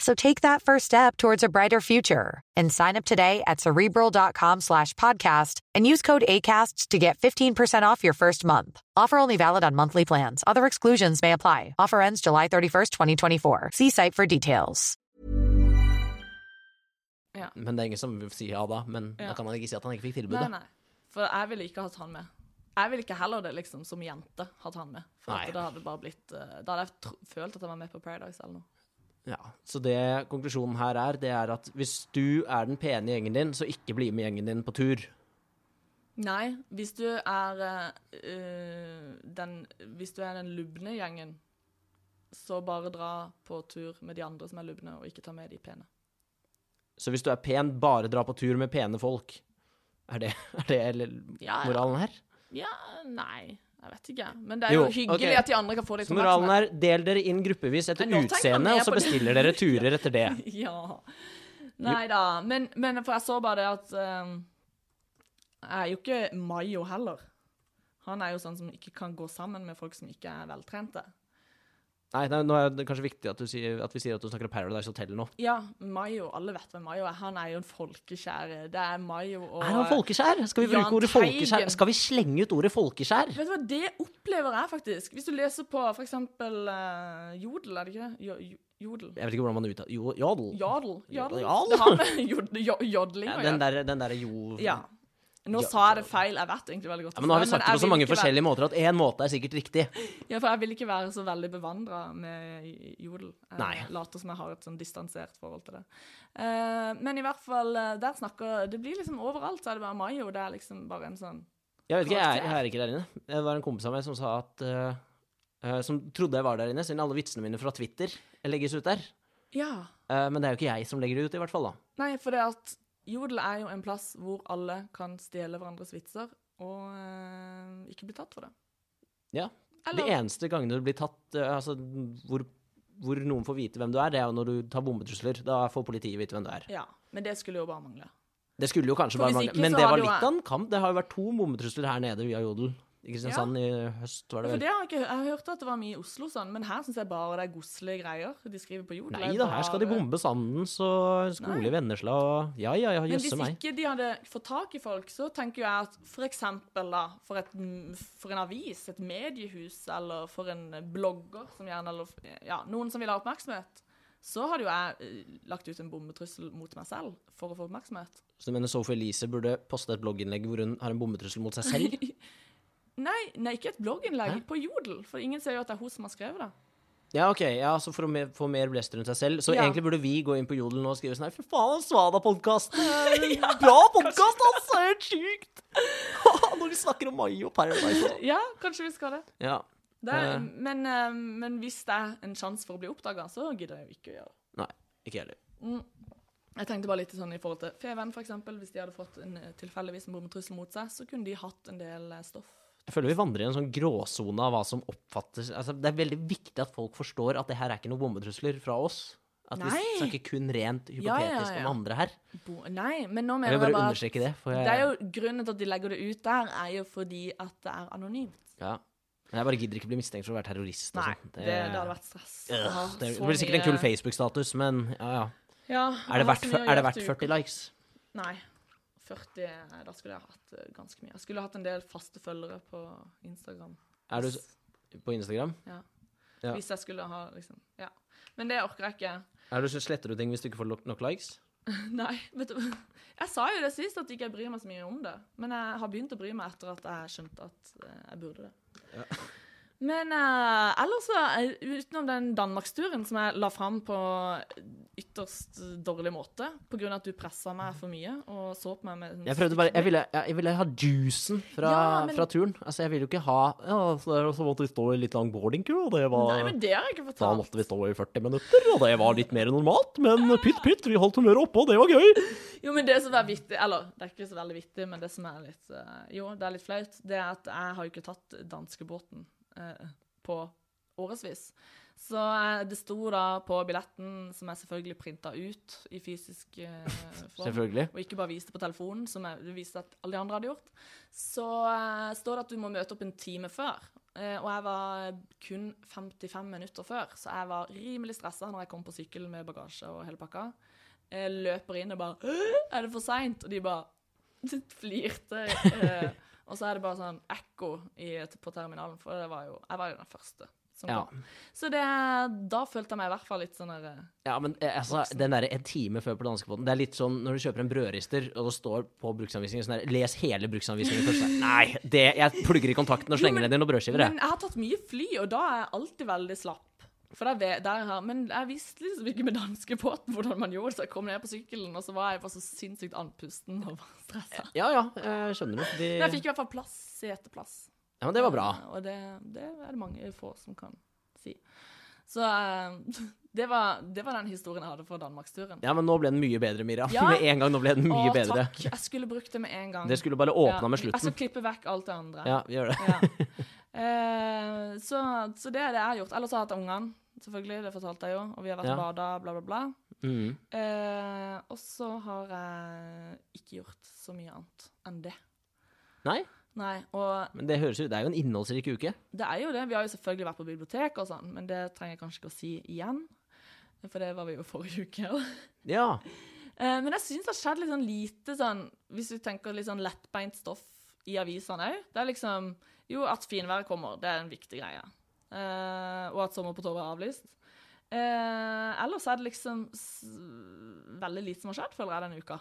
C: So take that first step towards a brighter future and sign up today at cerebral.com slash podcast and use code ACAST to get 15% off your first month. Offer only valid on monthly plans. Other exclusions may apply. Offer ends July 31st, 2024. See site for details.
B: Ja.
A: Men det er ingen som sier ja da. Men
B: Ja.
A: da kan han ikke si at han ikke fikk
B: Nei,
A: tilbudet.
B: nei. For jeg ville ikke hatt han med. Jeg ville ikke heller det, liksom, som jente, hatt han med. For
A: Nei.
B: at da hadde det bare blitt eh, Da hadde jeg tro følt at jeg var med på Paradise eller noe.
A: Ja, Så det konklusjonen her er, det er at hvis du er den pene i gjengen din, så ikke bli med gjengen din på tur.
B: Nei, hvis du er eh, eh, den Hvis du er den lubne gjengen, så bare dra på tur med de andre som er lubne, og ikke ta med de pene.
A: Så hvis du er pen, bare dra på tur med pene folk. Er det, *laughs* er det eller,
B: Ja, ja.
A: moralen her?
B: Ja, nei, jeg vet ikke. Men det er jo,
A: Jo,
B: hyggelig
A: ok.
B: at de andre kan få litt
A: Så moralen er, del dere inn gruppevis etter
B: Nei, nå tenker han
A: utseende,
B: mer
A: og så
B: på det.
A: bestiller dere turer etter det.
B: *laughs* Ja. Nei da. Men, men for jeg så bare det at eh, Jeg er jo ikke Mayo heller. Han er jo sånn som ikke kan gå sammen med folk som ikke er veltrente.
A: Nei, nei, nå er det kanskje viktig at, du sier, at vi sier at du snakker om Paradise Hotel nå.
B: Ja, Mayo. Alle vet hvem Mayo er. Han er jo en folkekjære. Det er Mayo og
A: Er han folkeskjær? Skal vi
B: Jahn
A: bruke ordet
B: Teigen.
A: folkeskjær? Skal vi slenge ut ordet folkeskjær?
B: Vet du hva, det opplever jeg faktisk. Hvis du leser på for eksempel eh, Jodel, er det ikke det? Jo, jo, jodel.
A: Jeg vet ikke hvordan man uttaler jo, Jodel?
B: Jodel. Jodel.
A: Jodel.
B: Det har med jod, jo- jodling å
A: Ja,
B: gjøre.
A: den der, den der jo...
B: Ja. Nå
A: Ja,
B: sa jeg det
A: ja.
B: feil, jeg vet egentlig veldig godt.
A: Ja, men nå har vi
B: det,
A: sagt
B: jeg
A: det på så
B: vil
A: mange
B: ikke være-
A: forskjellige måter at én måte er sikkert riktig.
B: Ja, for jeg vil ikke være så veldig bevandra med j- jodel. Jeg
A: Nei.
B: later som jeg har et sånn distansert forhold til det. Eh, men i hvert fall, eh, der snakker Det blir liksom overalt, så er det bare Mayo. Det er liksom bare en sånn
A: Jeg vet ikke, jeg, er-
B: Karakter.
A: jeg er ikke der inne. Det var en kompis av meg som sa at eh, eh, Som trodde jeg var der inne, siden alle vitsene mine fra Twitter legges ut der.
B: Ja.
A: Eh, men det er jo ikke jeg som legger det ut, i hvert fall. da
B: Nei, for det at jodel er jo en plass hvor alle kan stjele hverandres vitser og eh, ikke bli tatt for det.
A: Ja.
B: Eller-
A: De eneste gangene du blir tatt, eh, altså hvor, hvor noen får vite hvem du er, det er jo når du tar bombetrusler. Da får politiet vite hvem du er.
B: Ja. Men det skulle jo bare mangle.
A: Det skulle jo kanskje
B: For
A: bare mangle.
B: hvis ikke,
A: Men
B: så
A: det
B: har
A: var
B: det jo-
A: litt av en kamp. Det har jo vært to bombetrusler her nede via Jodel. I Kristiansand i høst, var
B: Ja,
A: det
B: For
A: vel.
B: det har jeg, ikke, jeg hørte at det var mye i Oslo, og sånn, men her syns jeg bare det er godslige greier de skriver på jodel.
A: Nei
B: Det er
A: da, her skal de
B: bare-
A: bombe Sandens og skole i Vennesla og Ja ja, ja,
B: Men hvis
A: jøsse meg.
B: ikke de hadde fått tak i folk, så tenker jo jeg at for eksempel da, for, et, for en avis, et mediehus, eller for en blogger som gjerne, eller ja, noen som vil ha oppmerksomhet, så hadde jo jeg eh, lagt ut en bombetrussel mot meg selv for å få oppmerksomhet.
A: Så du mener Sophie Elise burde poste et blogginnlegg hvor hun har en bombetrussel mot seg
B: *laughs*
A: selv?
B: Nei, nei ikke et blogginnlegg, på Jodel, for ingen ser jo at det er hun som har skrevet det.
A: Ja, ok, ja, så for å me- få mer blest rundt seg selv. Så
B: Ja.
A: egentlig burde vi gå inn på Jodel nå og skrive sånn her Fy faen,
B: *laughs*
A: Svada-podkasten! Bra podkast, altså! Helt sjukt! *laughs* Når de snakker om Mayo Paradise.
B: *laughs*
A: og-
B: Ja, kanskje vi skal det.
A: Ja.
B: det er,
A: Eh.
B: men, eh, men hvis det er en sjanse for å bli oppdaga, så gidder jeg jo ikke å gjøre det.
A: Nei, ikke heller.
B: Jeg tenkte bare litt sånn i forhold til Feven, for eksempel. Hvis de hadde fått en eh, tilfeldigvis en bombetrussel mot seg, så kunne de hatt en del eh, stoff.
A: Jeg føler vi vandrer i en sånn gråsone av hva som oppfattes altså, Det er veldig viktig at folk forstår at det her er ikke noen bombetrusler fra oss. At
B: Nei.
A: vi snakker kun rent hypotetisk
B: Ja, ja, ja.
A: om andre her.
B: Bo Nei, men nå
A: Jeg vil bare
B: mener jeg bare at
A: understreke det. For jeg,
B: det er jo Grunnen til at de legger det ut der, er jo fordi at det er anonymt.
A: ja. Men jeg bare gidder ikke bli mistenkt for å være terrorist. og
B: Nei,
A: sånn.
B: det, det hadde vært stress. Jeg
A: Øh,
B: har
A: Det
B: så
A: blir sikkert en
B: mye-
A: kul Facebook-status, men ja, ja.
B: Ja,
A: Er det verdt, er det verdt 40
B: likes?
A: likes?
B: Nei. 40, eh, Da skulle jeg hatt eh, ganske mye. Jeg skulle hatt en del faste følgere på Instagram.
A: Er du s- på Instagram?
B: Ja.
A: Ja.
B: Hvis jeg skulle ha liksom Ja. Men det orker jeg ikke.
A: Er du, sletter du ting hvis du ikke får nok- nok likes?
B: Nei, vet du Jeg sa jo det sist at ikke jeg bryr meg så mye om det. Men jeg har begynt å bry meg etter at jeg skjønte at eh, jeg burde det. Men eh, ellers, så, eh, utenom den danmarksturen som jeg la fram på ytterst dårlig måte, pga. at du pressa meg for mye og så på meg med en
A: Jeg prøvde bare, jeg ville, jeg, jeg ville ha juicen fra,
B: Ja, men-
A: fra turen. Altså, jeg ville jo ikke ha ja, så, så måtte vi stå i litt lang boardingkø, og det var
B: Nei, men det har jeg ikke
A: Da
B: fortalt.
A: måtte vi stå i 40 minutter, og det var litt mer enn normalt. Men pytt, pytt, vi holdt humøret oppe, og det var gøy.
B: Jo, men det som er vittig, eller det er ikke så veldig vittig, men det som er litt eh, Jo, det er litt flaut, det er at jeg har jo ikke tatt danskebåten eh, på årevis. Så eh, det sto da på billetten, som jeg selvfølgelig printa ut i fysisk eh, form,
A: Selvfølgelig.
B: og ikke bare viste på telefonen, som jeg det viste at alle de andre hadde gjort, så eh, står det at du må møte opp en time før. Eh, og jeg var kun 55 minutter før, så jeg var rimelig stressa når jeg kom på sykkel med bagasje og hele pakka. Jeg løper inn og bare «Åh, Er det for seint? Og de bare *laughs* flirte. eh, og så er det bare sånn ekko i, på terminalen, for det var jo, jeg var jo den første. Som
A: Ja.
B: kom. Så det, da følte jeg meg i hvert fall litt sånn der, eh,
A: Ja, men eh, altså, den derre en time før på danskebåten, det er litt sånn når du kjøper en brødrister, og det står på bruksanvisningen sånn der Les hele bruksanvisningen først. Nei, det, jeg plugger i kontakten og
B: Jo, men-
A: slenger ned i noen brødskiver,
B: Men
A: jeg.
B: jeg har tatt mye fly, og da er jeg alltid veldig slapp. For der, ve- der her, men jeg visste liksom ikke med danskebåten hvordan man gjorde det, så jeg kom ned på sykkelen, og så var jeg bare så sinnssykt andpusten og var stressa.
A: Ja ja, jeg skjønner det. De...
B: Men jeg fikk i hvert fall plass, seteplass.
A: Ja, men det var bra.
B: Og det, det er det mange få som kan si. Så eh, *laughs* det, var, det var den historien jeg hadde fra Danmarksturen.
A: Ja, men nå ble den mye bedre, Mira.
B: Ja.
A: Med en gang nå ble den mye
B: Å,
A: bedre.
B: takk. Jeg skulle brukt det med en gang.
A: Det skulle bare åpna med
B: Jeg
A: slutten.
B: skal klippe vekk alt det andre.
A: Ja, vi gjør det.
B: Ja. Eh, så, så det er det jeg har gjort. Ellers har jeg hatt ungene, selvfølgelig. Det fortalte jeg jo. Og vi har vært
A: Ja.
B: og bada, bla, bla, bla.
A: Mm.
B: Eh, og så har jeg ikke gjort så mye annet enn det.
A: Nei,
B: Nei, og
A: men det høres jo Det er jo en innholdsrik uke.
B: det er jo det. Vi har jo selvfølgelig vært på biblioteket og sånn, men det trenger jeg kanskje ikke å si igjen. For det var vi jo forrige uke òg.
A: Ja.
B: Eh, men jeg syns det har skjedd litt sånn lite sånn Hvis du tenker litt sånn lettbeint stoff i avisene òg. Det er liksom Jo, at finværet kommer, det er en viktig greie. Eh, og at Sommer på Torvet er avlyst. Eh, ellers er det liksom s veldig lite som har skjedd, føler jeg, denne uka.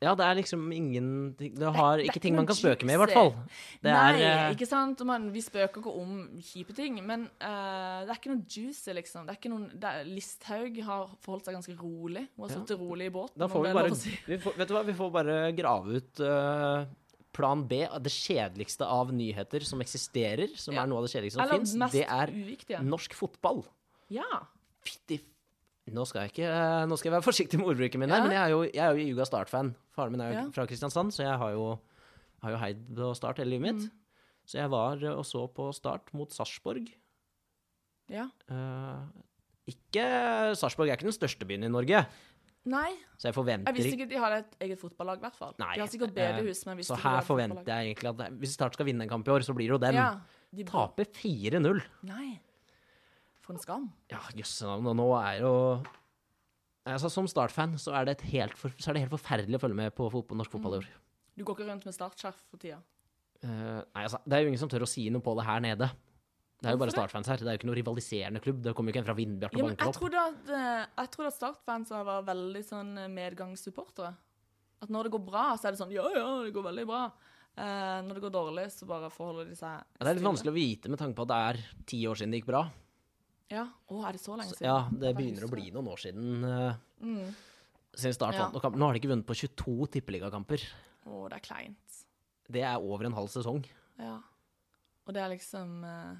A: Ja, det er liksom ingen ting- Det
B: det
A: har
B: er
A: ikke
B: ikke
A: ting man
B: noe
A: kan spøke med, i hvert fall.
B: juicy.
A: Det
B: Nei,
A: er eh,
B: ikke sant? Og Man, vi spøker ikke om kjipe ting, men eh, det er ikke noe juicy, liksom. Det er ikke noen, det er, Listhaug har forholdt seg ganske rolig. Hun har
A: Ja.
B: sittet rolig i båten.
A: Da
B: om
A: får
B: det
A: vi
B: er lov
A: bare
B: å si.
A: vi får, Vet du hva, vi får bare grave ut eh, plan B, det kjedeligste av nyheter som eksisterer, som
B: Ja.
A: er noe av det kjedeligste som
B: Eller
A: fins.
B: mest
A: Det er
B: uviktige.
A: norsk fotball.
B: Ja.
A: Fytti f- Nå skal jeg ikke eh, Nå skal jeg være *laughs* forsiktig med ordbruken min, her,
B: Ja.
A: men jeg er jo, jeg er jo Juga Start-fan. Faren min er jo
B: Ja.
A: fra Kristiansand, så jeg har jo, har jo heid på Start hele livet
B: Mm.
A: mitt. Så jeg var eh, og så på Start mot Sarpsborg.
B: ja.
A: Eh, ikke Sarpsborg er ikke den største byen i Norge,
B: Nei,
A: så jeg forventer
B: jeg visste ikke at de hadde et eget fotballag, i hvert fall.
A: Nei,
B: de har sikkert
A: eh,
B: bedehus, men hvis
A: Så her forventer jeg egentlig at det- hvis Start skal vinne en kamp i år, så blir det jo den.
B: ja, de
A: Taper 4-0.
B: Nei. For en skam.
A: Ja, jøsse navn. Og nå er jo altså, Som Start-fan så, er det et helt for- så er det helt forferdelig å følge med på fotball, norsk fotball i
B: Mm.
A: år.
B: Du går ikke rundt med startskjerf for tida.
A: Eh, nei, altså, det er jo ingen som tør å si noe på det her nede. Det er jo
B: Hvorfor
A: bare
B: det?
A: Start-fans her. Det er jo ikke noe rivaliserende klubb. Det kommer jo ikke en fra Vindbjart og
B: Ja, men
A: banker
B: jeg
A: opp.
B: trodde at, eh, jeg trodde at Start-fansa var veldig sånn eh, medgangssupportere. At når det går bra, så er det sånn Ja, ja, det går veldig bra. Eh, når det går dårlig, så bare forholder de seg
A: Ja, det er litt vanskelig å vite med tanke på at det er ti år siden det gikk bra.
B: Ja. Å, er det så lenge
A: Så,
B: siden?
A: ja, det
B: Jeg
A: begynner å
B: husker
A: bli noen år siden eh,
B: Mm.
A: siden Start
B: Ja.
A: vant noen kamp. Nå har de ikke vunnet på 22 tippeligakamper.
B: Å, det er kleint.
A: Det er over en halv sesong.
B: Ja. Og det er liksom eh,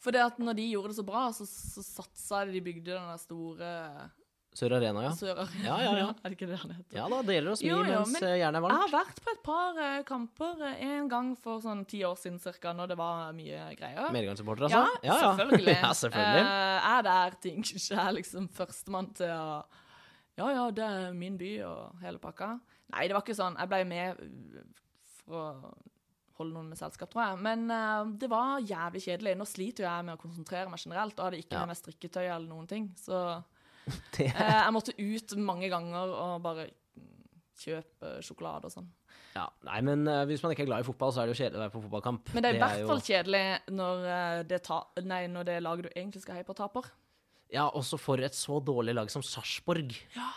B: For det at når de gjorde det så bra, så, så satsa de De bygde den der store
A: Sør Arena, ja.
B: Sør-Arena.
A: Ja, ja, ja.
B: *laughs* er det ikke det han heter?
A: Ja da, det gjelder å smi
B: Jo, jo,
A: mens
B: men- Ah,
A: eh, jernet er
B: Jeg
A: varmt.
B: har vært på et par eh, kamper eh, en gang for sånn ti år siden cirka, når det var mye greier.
A: Medgangssupporter,
B: ja,
A: altså?
B: sånn? selvfølgelig.
A: *laughs* ja, selvfølgelig.
B: Eh, er der ting *laughs* skjer, liksom førstemann til å Ja ja, det er min by og hele pakka. Nei, det var ikke sånn. Jeg ble med uh, for å holde noen med selskap, tror jeg. Men eh, det var jævlig kjedelig. Nå sliter jo jeg med å konsentrere meg generelt, og hadde ikke
A: Ja.
B: med meg strikketøy eller noen ting. Så
A: Det,
B: eh, jeg måtte ut mange ganger og bare kjøpe sjokolade og sånn.
A: ja. Nei, men eh, hvis man ikke er glad i fotball, så er det jo kjedelig å være på fotballkamp.
B: Men det er i hvert
A: jo-
B: fall kjedelig når eh, det, ta nei, når det laget du egentlig skal heie på, taper.
A: Ja, også for et så dårlig lag som Sarpsborg.
B: Ja.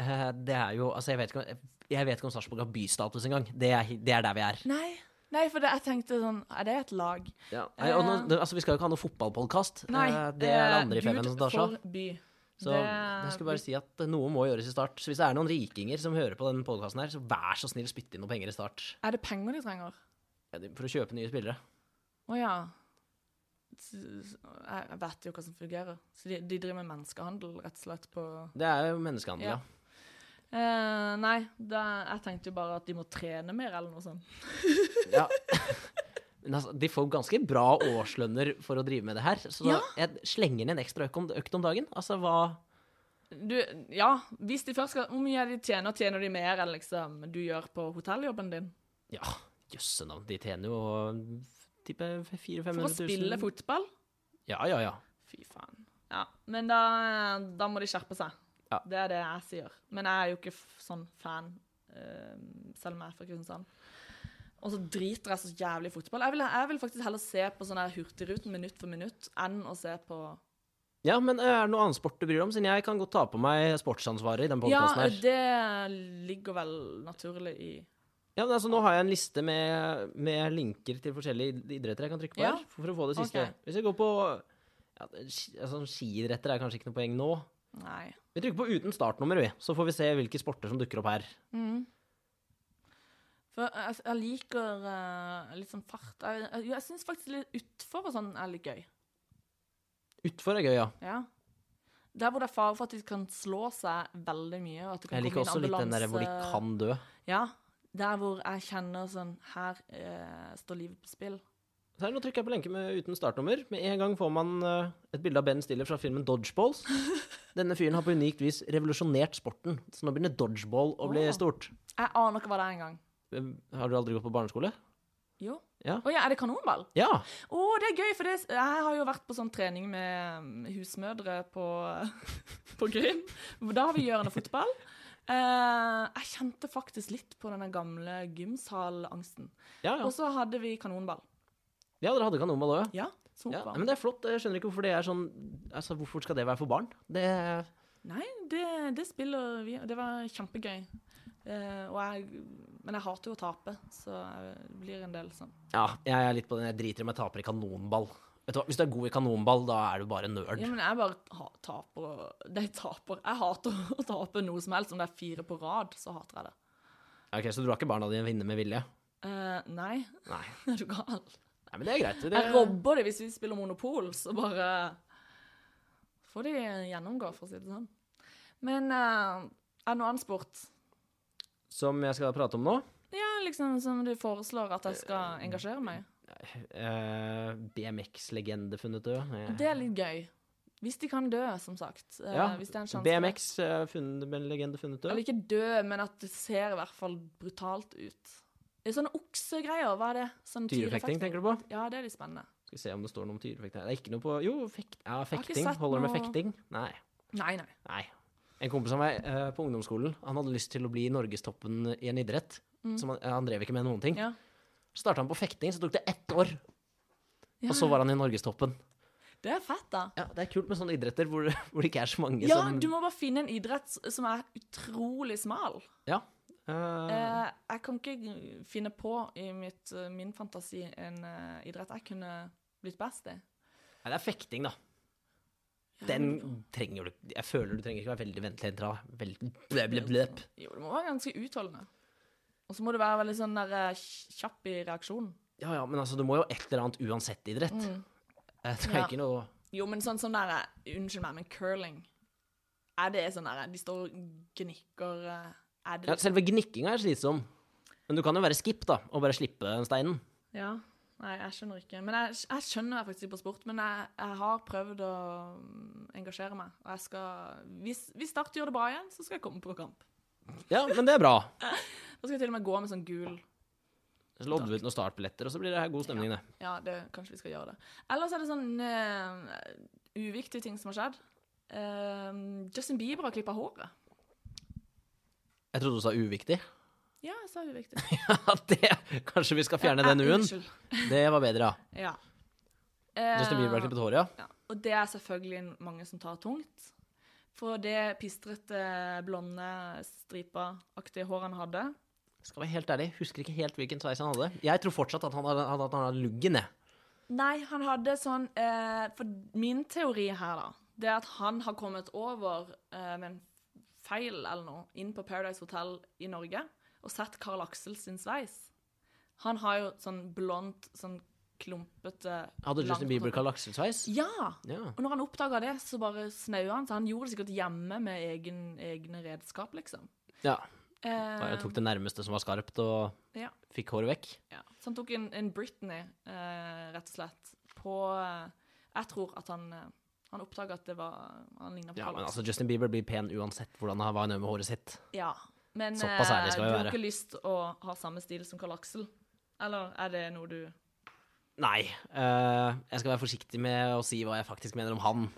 A: Eh, Det er jo Altså, jeg vet ikke om jeg vet ikke om Sarpsborg har bystatus engang. Det, er- det er der vi er.
B: Nei. Nei, for det, jeg tenkte sånn Er det et lag?
A: Ja. Nei, og nå, det, altså, vi skal jo ikke ha noe fotballpodkast.
B: Eh. Nei.
A: Eh, Det er det andre i
B: eh,
A: Femmen som tar seg av.
B: Gud forby.
A: Så jeg skulle bare si at noe må gjøres i Start. Så hvis det er noen rikinger som hører på denne podkasten her, så vær så snill spytt inn noen penger i Start.
B: Er det penger de trenger?
A: Ja, de- For å kjøpe nye spillere.
B: Å ja. S- s- Jeg jeg vet jo hva som fungerer. Så de, de driver med menneskehandel, rett og slett, på
A: Det er jo menneskehandel,
B: Ja.
A: ja.
B: eh, Nei, da, jeg tenkte jo bare at de må trene mer, eller noe sånt.
A: ja. *laughs* Men altså, de får ganske bra årslønner for å drive med det her. Så
B: Ja.
A: jeg slenger inn en ekstra økt om, økt om dagen. Altså hva
B: Du, ja, hvis de først skal Hvor mye er det de tjener? Tjener de mer enn liksom du gjør på hotelljobben din?
A: Ja, jøsse navn. De tjener jo type 400 000-500
B: For å
A: 000.
B: spille fotball?
A: Ja, ja, ja.
B: Fy faen. Ja, men da, da må de skjerpe seg.
A: Ja.
B: Det er det jeg sier. Men jeg er jo ikke f sånn fan, eh, selv om jeg er fra Kristiansand. Og så driter jeg så jævlig i fotball. Jeg vil, jeg vil faktisk heller se på sånn her Hurtigruten minutt for minutt enn å se på
A: Ja, men eh, er det noe annen sport du bryr deg om? Siden jeg kan godt ta på meg sportsansvaret i den
B: Ja,
A: podkasten her.
B: det ligger vel naturlig i
A: Ja, men altså, nå har jeg en liste med, med linker til forskjellige id- idretter jeg kan trykke på
B: Ja.
A: her, for å få det siste.
B: Ok.
A: Hvis jeg går på ja, ski, altså, Skiidretter er kanskje ikke noe poeng nå.
B: Nei.
A: Vi trykker på uten startnummer, vi. Så får vi se hvilke sporter som dukker opp her.
B: For jeg, jeg liker eh, litt sånn fart. Jeg, jeg, jeg syns faktisk litt utfor og sånn er litt gøy.
A: Utfor er gøy, ja.
B: Ja. Der hvor det er fare for at de kan slå seg veldig mye. Og at det kan
A: Jeg liker
B: komme
A: også
B: inn
A: litt den
B: ambulanse.
A: der hvor de kan dø.
B: Ja. Der hvor jeg kjenner sånn Her eh, står livet på spill.
A: Så her, nå trykker jeg på lenke med uten startnummer. Med en gang får man eh, et bilde av Ben Stiller fra filmen
B: *laughs*
A: Dodgeballs. Denne fyren har på unikt vis revolusjonert sporten, så nå begynner dodgeball å bli
B: Åh.
A: stort.
B: Jeg aner ikke hva det er engang.
A: Eh, Har du aldri gått på barneskole?
B: Jo.
A: Ja.
B: Å ja, er det kanonball?
A: Ja!
B: Å, det er gøy, for det, jeg har jo vært på sånn trening med mm, husmødre på, *laughs* på Grym. Hvor Da har vi gjørende fotball. Eh, jeg kjente faktisk litt på denne gamle gymsalangsten.
A: Ja, ja.
B: Og så hadde vi kanonball.
A: ja dere hadde kanonball òg, ja.
B: Ja,
A: Ja,
B: sopball.
A: men det er flott. Jeg skjønner ikke hvorfor det er sånn Altså, hvorfor skal det være for barn? Det
B: Nei, det, det spiller vi. og Det var kjempegøy. Eh, og jeg, men jeg hater jo å tape, så jeg blir en del sånn.
A: Ja, jeg er litt på den. Jeg driter i om jeg taper i kanonball. Vet du hva, Hvis du er god i kanonball, da er du bare nerd.
B: Ja, men jeg bare ha, taper og Nei, taper. Jeg hater *laughs* å tape noe som helst. Om det er fire på rad, så hater jeg det.
A: Ok, Så du har ikke barna dine vinne med vilje?
B: Eh, nei,
A: Nei.
B: *laughs* er du gal?
A: Nei, men det er greit. Det...
B: Jeg robber det hvis vi spiller Monopol, så bare får de gjennomgå, for å si det sånn. Men eh, er det noe annen sport?
A: Som jeg skal prate om nå.
B: Ja, liksom som du foreslår at jeg skal engasjere meg i?
A: Eh, BMX-legende funnet død. Eh,
B: Det er litt gøy. Hvis de kan dø, som sagt. Eh,
A: ja.
B: Hvis det er en sjanse. for det.
A: BMX eh, funnet, med en legende funnet død.
B: Eller ikke dø, men at det ser i hvert fall brutalt ut. Det er sånne oksegreier, hva er det? Sånn
A: Tyrefekting, tenker du på?
B: Ja, det er litt spennende.
A: Skal vi se om det står noe om tyrefekting her. Det er ikke noe på Jo, fekt... ja,
B: har ikke
A: fekting.
B: sett
A: Holder det med
B: noe-
A: fekting? Nei.
B: Nei,
A: *laughs*
B: nei.
A: Nei. En kompis av meg eh, på ungdomsskolen Han hadde lyst til å bli norgestoppen i en idrett. Som han, eh, han drev ikke med noen ting.
B: Mm. Ja.
A: Så starta han på fekting, så tok det ett år. Og så var han i norgestoppen.
B: Det er fett, da.
A: Ja, det er kult med sånne idretter hvor, *laughs* hvor det ikke er så mange
B: Ja,
A: som
B: du må bare finne en idrett s- som er utrolig smal.
A: Ja. Eh,
B: Eh, jeg kan ikke finne på i mitt, eh, min fantasi en eh, idrett jeg kunne blitt best i.
A: Nei, det er fekting, da. Den trenger du Jeg føler du trenger ikke være veldig ventilert. Veldig bløp, bløp, bløp.
B: Jo, det må være ganske utholdende. Og så må det være veldig sånn der, eh, kjapp i reaksjonen.
A: Ja ja, men altså, du må jo et eller annet uansett idrett. Jeg trenger
B: Mm. Ja.
A: ikke noe
B: Jo, men sånn som der Unnskyld meg, men curling Er det sånn der De står og gnikker eh, Er det
A: ja, Selve gnikkinga er slitsom. Men du kan jo være skip, da, og bare slippe den steinen.
B: liksom- Ja. Nei, jeg skjønner ikke. Men jeg, jeg skjønner faktisk ikke på sport. Men jeg, jeg har prøvd å mm, engasjere meg. Og jeg skal Hvis, hvis Start gjør det bra igjen, så skal jeg komme på kamp.
A: Ja, men det er bra.
B: Da skal jeg til og med gå med sånn gul
A: Så lodder vi ut noen startbilletter, og så blir det her god stemning, det.
B: Ja, det, kanskje vi skal gjøre det. Ellers er det sånn eh, uviktige ting som har skjedd. Eh, Justin Bieber har klippa håret.
A: Jeg trodde du sa uviktig. *laughs*
B: Ja, jeg sa uviktig.
A: Ja, det Kanskje vi skal fjerne den
B: Eh,
A: U-en?
B: Unnskyld.
A: Det var bedre, ja.
B: Ja. Eh,
A: Justin Bieber har klippet håret, ja.
B: Ja, og det er selvfølgelig mange som tar tungt. For det pistrete, blonde, stripa-aktige håret han hadde,
A: Skal være helt ærlig, husker ikke helt hvilken sveis han hadde. Jeg tror fortsatt at han har, at han har luggen, jeg.
B: Nei, han hadde sånn eh, For min teori her, da, det er at han har kommet over eh, med en feil eller noe inn på Paradise Hotel i Norge og sett Carl Axel sin sveis. Han har jo sånn blondt, sånn klumpete
A: Hadde
B: langt-
A: Justin Bieber Carl Axel-sveis?
B: Ja!
A: Ja.
B: Og når han oppdaga det, så bare snaua han. Så han gjorde det sikkert hjemme med egen, egne redskap, liksom.
A: ja.
B: Eh,
A: Jeg tok det nærmeste som var skarpt, og
B: ja.
A: fikk håret vekk.
B: Ja. Så han tok en, en Britney, eh, rett og slett, på eh, Jeg tror at han eh, han oppdaga at det var Han ligna på
A: Ja, men
B: Carl
A: altså, Justin Bieber blir pen uansett hvordan han var nøye med håret sitt.
B: Ja, men
A: Såpass ærlig
B: eh,
A: skal
B: du
A: vi
B: har
A: være.
B: ikke lyst å ha samme stil som Carl Axel? Eller er det noe du
A: Nei. eh, jeg skal være forsiktig med å si hva jeg faktisk mener om han.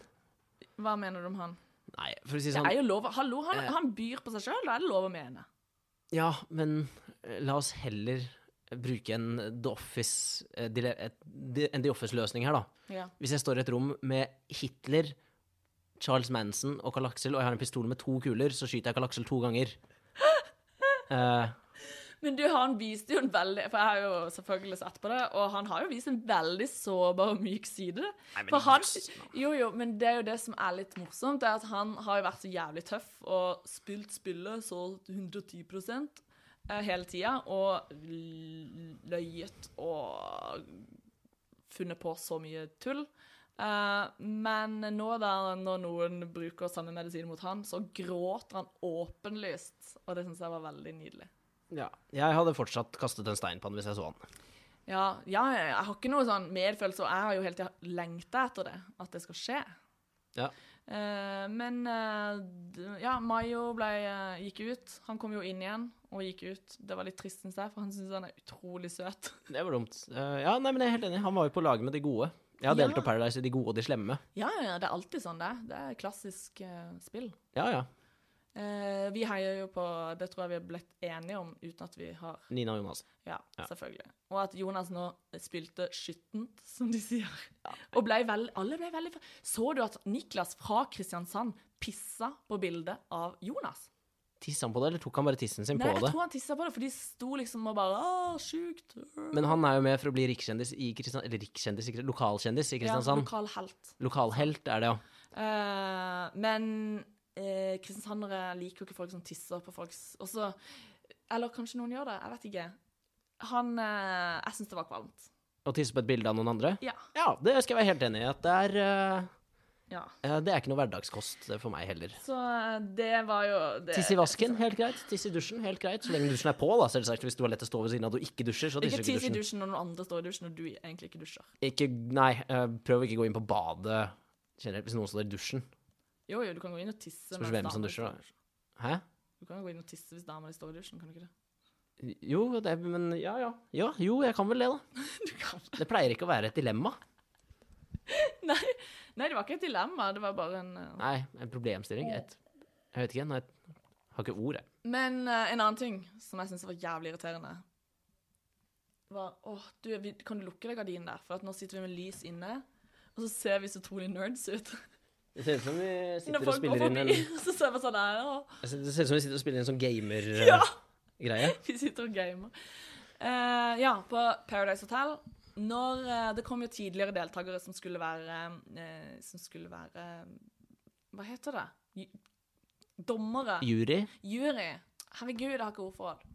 B: Hva mener du om han?
A: Nei, for å si det
B: Det er
A: sånn
B: jo lov, å- hallo, han,
A: Eh.
B: han byr på seg sjøl, da er det lov å mene.
A: Ja, men eh, la oss heller bruke en eh, The Office eh, dile- et- di- En The Office-løsning her, da.
B: Ja.
A: Hvis jeg står i et rom med Hitler, Charles Manson og Carl Axel, og jeg har en pistol med to kuler, så skyter jeg Carl Axel to
B: *laughs*
A: ganger. Eh,
B: Men du, han viste jo en veldig For jeg har jo selvfølgelig sett på det, og han har jo vist en veldig sårbar og myk side.
A: Nei, men
B: for han,
A: jøss,
B: jo, jo, men det er jo det som er litt morsomt, det er at han har jo vært så jævlig tøff og spilt spillet så 110 eh, hele tida, og l- løyet og funnet på så mye tull. Eh, men nå da, når noen bruker samme medisin mot han, så gråter han åpenlyst, og det syns jeg var veldig nydelig.
A: ja. Jeg hadde fortsatt kastet en stein på han hvis jeg så han.
B: Ja, ja, ja, jeg har ikke noe sånn medfølelse, og jeg har jo hele tida lengta etter det. At det skal skje.
A: Ja.
B: Eh, men eh, d- ja, Mayo ble, eh, gikk ut. Han kom jo inn igjen og gikk ut. Det var litt trist, syns jeg, for han syns han er utrolig søt. *laughs*
A: Det var dumt. Eh, ja, nei, men jeg er helt enig. Han var jo på lag med de gode. Jeg har
B: Ja.
A: delt opp Paradise i de gode og de slemme.
B: Ja, ja, ja, det er alltid sånn det er. Det er klassisk eh, spill.
A: Ja, ja.
B: Eh, vi heier jo på Det tror jeg vi har blitt enige om uten at vi har
A: Nina og Jonas.
B: Ja,
A: Ja.
B: selvfølgelig. Og at Jonas nå spilte skittent, som de sier. Og ble vel, alle ble veldig Så du at Niklas fra Kristiansand pissa på bildet av Jonas?
A: Tisset han på det, eller tok han bare tissen sin
B: Nei,
A: på
B: jeg
A: det?
B: tror han tissa på det, for de sto liksom og bare Å, sjukt.
A: Men han er jo med for å bli rikskjendis i Kristiansand Eller rikskjendis, i Kri- lokalkjendis i Kristiansand.
B: Ja, lokal helt.
A: Lokalhelt er det, ja.
B: Eh, men eh, kristiansandere liker jo ikke folk som tisser på folks Og så Eller kanskje noen gjør det, jeg vet ikke. Han eh, Jeg syns det var kvalmt.
A: Å tisse på et bilde av noen andre?
B: Ja.
A: Ja, det skal jeg være helt enig i. At det er eh,
B: ja.
A: eh, Det er ikke noe hverdagskost eh, for meg heller.
B: Så eh, det var jo det,
A: Tiss i vasken, helt greit. Tiss i dusjen, helt greit. Så lenge dusjen er på, da, selvsagt. Hvis du har lett å stå ved siden av at du ikke dusjer, så
B: Ikke
A: tisser du ikke i
B: tiss i
A: dusjen.
B: dusjen når noen andre står i dusjen og du egentlig ikke dusjer.
A: Ikke, nei, eh, prøv å ikke gå inn på badet generelt hvis noen står i dusjen.
B: Jo, jo, du kan gå inn og tisse.
A: Spørs
B: mens
A: hvem som
B: damene
A: dusjer,
B: står i
A: da.
B: dusjen.
A: Hæ?
B: Du kan jo gå inn og tisse hvis damene står i dusjen, kan du ikke det? *laughs*
A: Jo, det, men ja, ja. ja. Jo, jeg kan vel det, da. Det pleier ikke å være et dilemma.
B: Nei, nei, det var ikke et dilemma, det var bare en eh,
A: Nei, en problemstilling. Et, jeg vet ikke. Nei, jeg har ikke ord, jeg.
B: Men eh, en annen ting som jeg syns var jævlig irriterende, var Åh, du, vi, kan du lukke deg gardinen der? For at nå sitter vi med lys inne, og så ser vi så utrolig nerds ut.
A: Det ser ut som vi
B: Når
A: sitter og
B: folk går
A: spiller inn en
B: forbi, *laughs* så ser vi sånn her, og
A: Det ser det ser ut som vi sitter og spiller inn en sånn
B: Ja.
A: gamer-greie.
B: Vi sitter og gamer. Eh, ja, på Paradise Hotel Når eh, Det kom jo tidligere deltakere som skulle være eh, Som skulle være Hva heter det? Ju- Dommere.
A: Jury.
B: Jury. Herregud, jeg har ikke ord for det.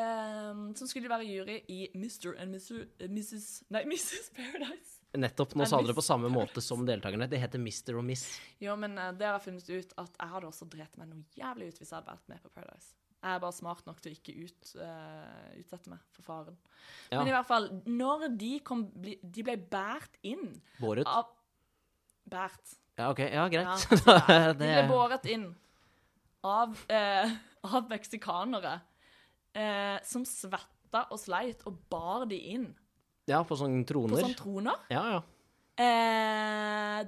B: Eh, som skulle være jury i Mr. and Mr. eh, Mrs. Nei, *laughs* Mrs. Paradise.
A: Nettopp. Nå
B: Jeg
A: sa dere på
B: mister-
A: samme måte som deltakerne. Det heter Mr. og Miss.
B: Jo, men eh, det har jeg funnet ut at jeg hadde også drept meg noe jævlig ut hvis jeg hadde vært med på Paradise. Jeg er bare smart nok til å ikke ut, eh, utsette meg for faren.
A: Ja.
B: Men i hvert fall, når de, kom, bli, de ble bært inn
A: Båret.
B: av Bært.
A: Ja, ok. Ja, *laughs*
B: Ja,
A: greit.
B: bært. De
A: det
B: ble båret inn av, eh, *laughs* av meksikanere eh, som svetta og sleit og bar de inn
A: Ja, på sånne
B: på sånn
A: troner.
B: sånne troner.
A: Ja, ja.
B: Eh,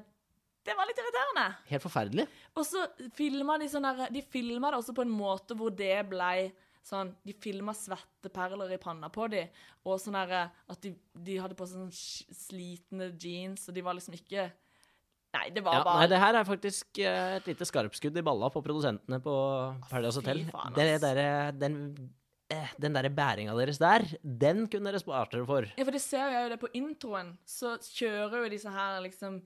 B: det var litt irriterende.
A: Helt forferdelig.
B: Og så filma de sånn der De filma det også på en måte hvor det blei sånn De filma svetteperler i panna på de, og sånn derre at de, de hadde på seg sånn sj- slitne jeans, og de var liksom ikke Nei, det var
A: Ja,
B: bare
A: nei, det her er faktisk eh, et lite skarpskudd i balla på produsentene på Paradise
B: fy
A: Hotel.
B: faen,
A: Det
B: ass.
A: der, den eh, den derre bæringa deres der, den kunne dere spart dere for.
B: Ja, for det ser jeg jo det på introen. Så kjører jo disse her liksom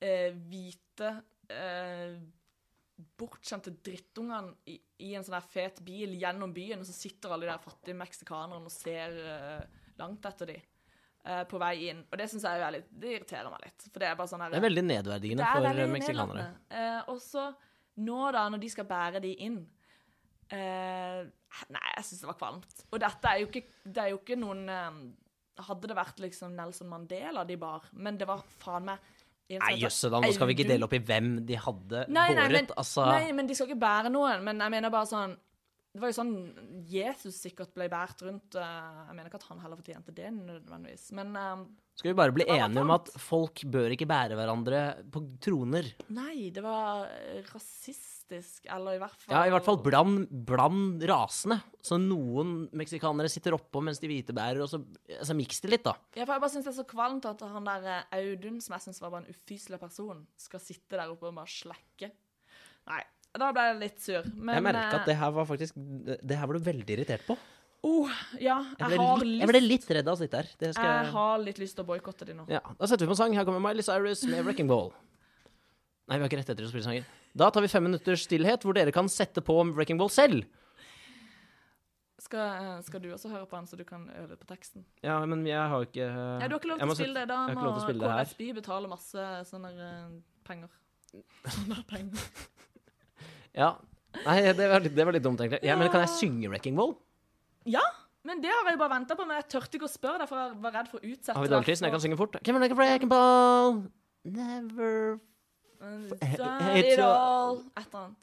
B: eh, hvite eh, bortskjemte drittungene i, i en sånn her fet bil gjennom byen, og så sitter alle de der fattige meksikanerne og ser eh, langt etter de eh, på vei inn. Og det syns jeg jo er litt Det irriterer meg litt. For det er bare sånn her
A: Det er veldig nedverdigende for
B: veldig
A: meksikanere.
B: nedlatende. Eh, og så nå, da, når de skal bære de inn eh, Nei, jeg syns det var kvalmt. Og dette er jo ikke, det er jo ikke noen eh, Hadde det vært liksom Nelson Mandela de bar, men det var faen meg en som
A: Nei,
B: heter
A: jøsse da, nå skal vi ikke
B: Audun-
A: dele opp i hvem de hadde
B: Nei, nei,
A: båret.
B: men,
A: altså,
B: nei, men de skal ikke bære noen. Men jeg mener bare sånn Det var jo sånn Jesus sikkert ble båret rundt. eh, jeg mener ikke at han heller fortjente det nødvendigvis, men eh,
A: skal vi bare bli
B: var
A: enige om at folk bør ikke bære hverandre på troner?
B: Nei, det var eh, rasistisk, eller i hvert fall
A: Ja, i hvert fall bland, bland rasene. Så noen meksikanere sitter oppå mens de hvite bærer, og så altså, miks det litt, da.
B: Ja, for jeg bare synes det er så kvalmt at han der eh, Audun, som jeg synes var bare en ufyselig person, skal sitte der oppe og bare slekke. Nei, da ble jeg litt sur. Men,
A: Jeg merka at
B: eh,
A: det her var faktisk Det her var du veldig irritert på.
B: Oh, ja,
A: Jeg
B: jeg,
A: ble,
B: har
A: litt,
B: lyst,
A: jeg ble litt redd av å sitte her. Det skal
B: jeg
A: jeg
B: har litt lyst til å boikotte de nå.
A: Ja, Da setter vi på en sang. Her kommer Miley Cyrus med 'Wrecking Ball'. Nei, vi har ikke rett etter å spille sanger. Da tar vi fem minutters stillhet, hvor dere kan sette på 'Wrecking Ball' selv.
B: Skal, eh, skal du også høre på han, så du kan øve litt på teksten?
A: Ja, men jeg har jo ikke eh,
B: Nei, du har ikke lov
A: jeg
B: til
A: må
B: å spille
A: sette-
B: det. Da
A: jeg har ikke
B: må
A: lov til å spille det her.
B: KFB betale masse sånne eh, penger. Sånne penger.
A: Ja. Nei, det var, litt- det var litt dumt, egentlig. Ja, men kan jeg synge 'Wrecking Ball'?
B: Ja, men det har jeg bare ventet på, men jeg tørte ikke å spørre deg, for jeg var redd for å utsette
A: Har vi
B: deg
A: dagkristen? Jeg kan
B: for-
A: synge fort. Can we make a wrecking ball? Never,
B: Start
A: It's
B: it
A: a-
B: all. Et eller annet.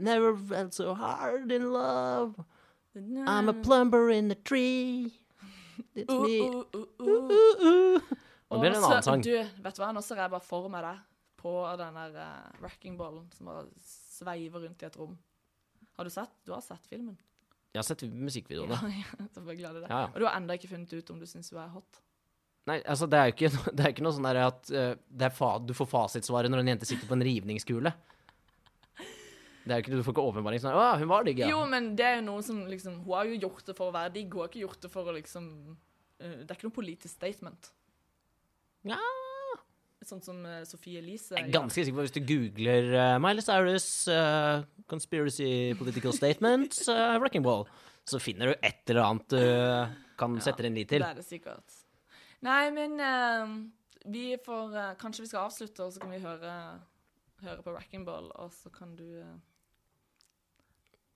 A: never felt so hard in love. I'm a plumber in a tree. It's
B: Uh,
A: me.
B: uh, uh, uh.
A: Uh, uh. Nå
B: Og
A: blir det en
B: så-
A: annen sang.
B: Du, vet du hva, nå ser jeg bare for meg deg på den der eh, wrecking-ballen som bare sveiver rundt i et rom. Har du sett? Du har sett filmen?
A: Jeg har sett musikkvideoene.
B: Ja, *laughs* ja, selvfølgelig har du det.
A: Ja, ja.
B: Og du har ennå ikke funnet ut om du syns hun er hot.
A: Nei, altså det er jo ikke, no- det er ikke noe sånn der at eh, det er fa du får fasitsvaret når en jente sitter på en rivningskule. Det er jo ikke, Du får ikke åpenbaring sånn Å, hun var digg, ja.
B: Jo, men det er jo noe som liksom Hun har jo gjort det for å være digg, hun har ikke gjort det for å liksom eh, Det er ikke noe politisk statement.
A: ja.
B: Sånn som uh, Sophie Elise
A: Jeg er
B: gjør.
A: ganske sikker på at hvis du googler eh, Miley Cyrus eh, 'conspiracy political statements eh, wrecking ball', så finner du et eller annet du eh, kan sette din lit til.
B: Det er det sikkert. Nei, men eh, vi får eh, Kanskje vi skal avslutte, og så kan vi høre, høre på Wrecking Ball, og så kan du eh,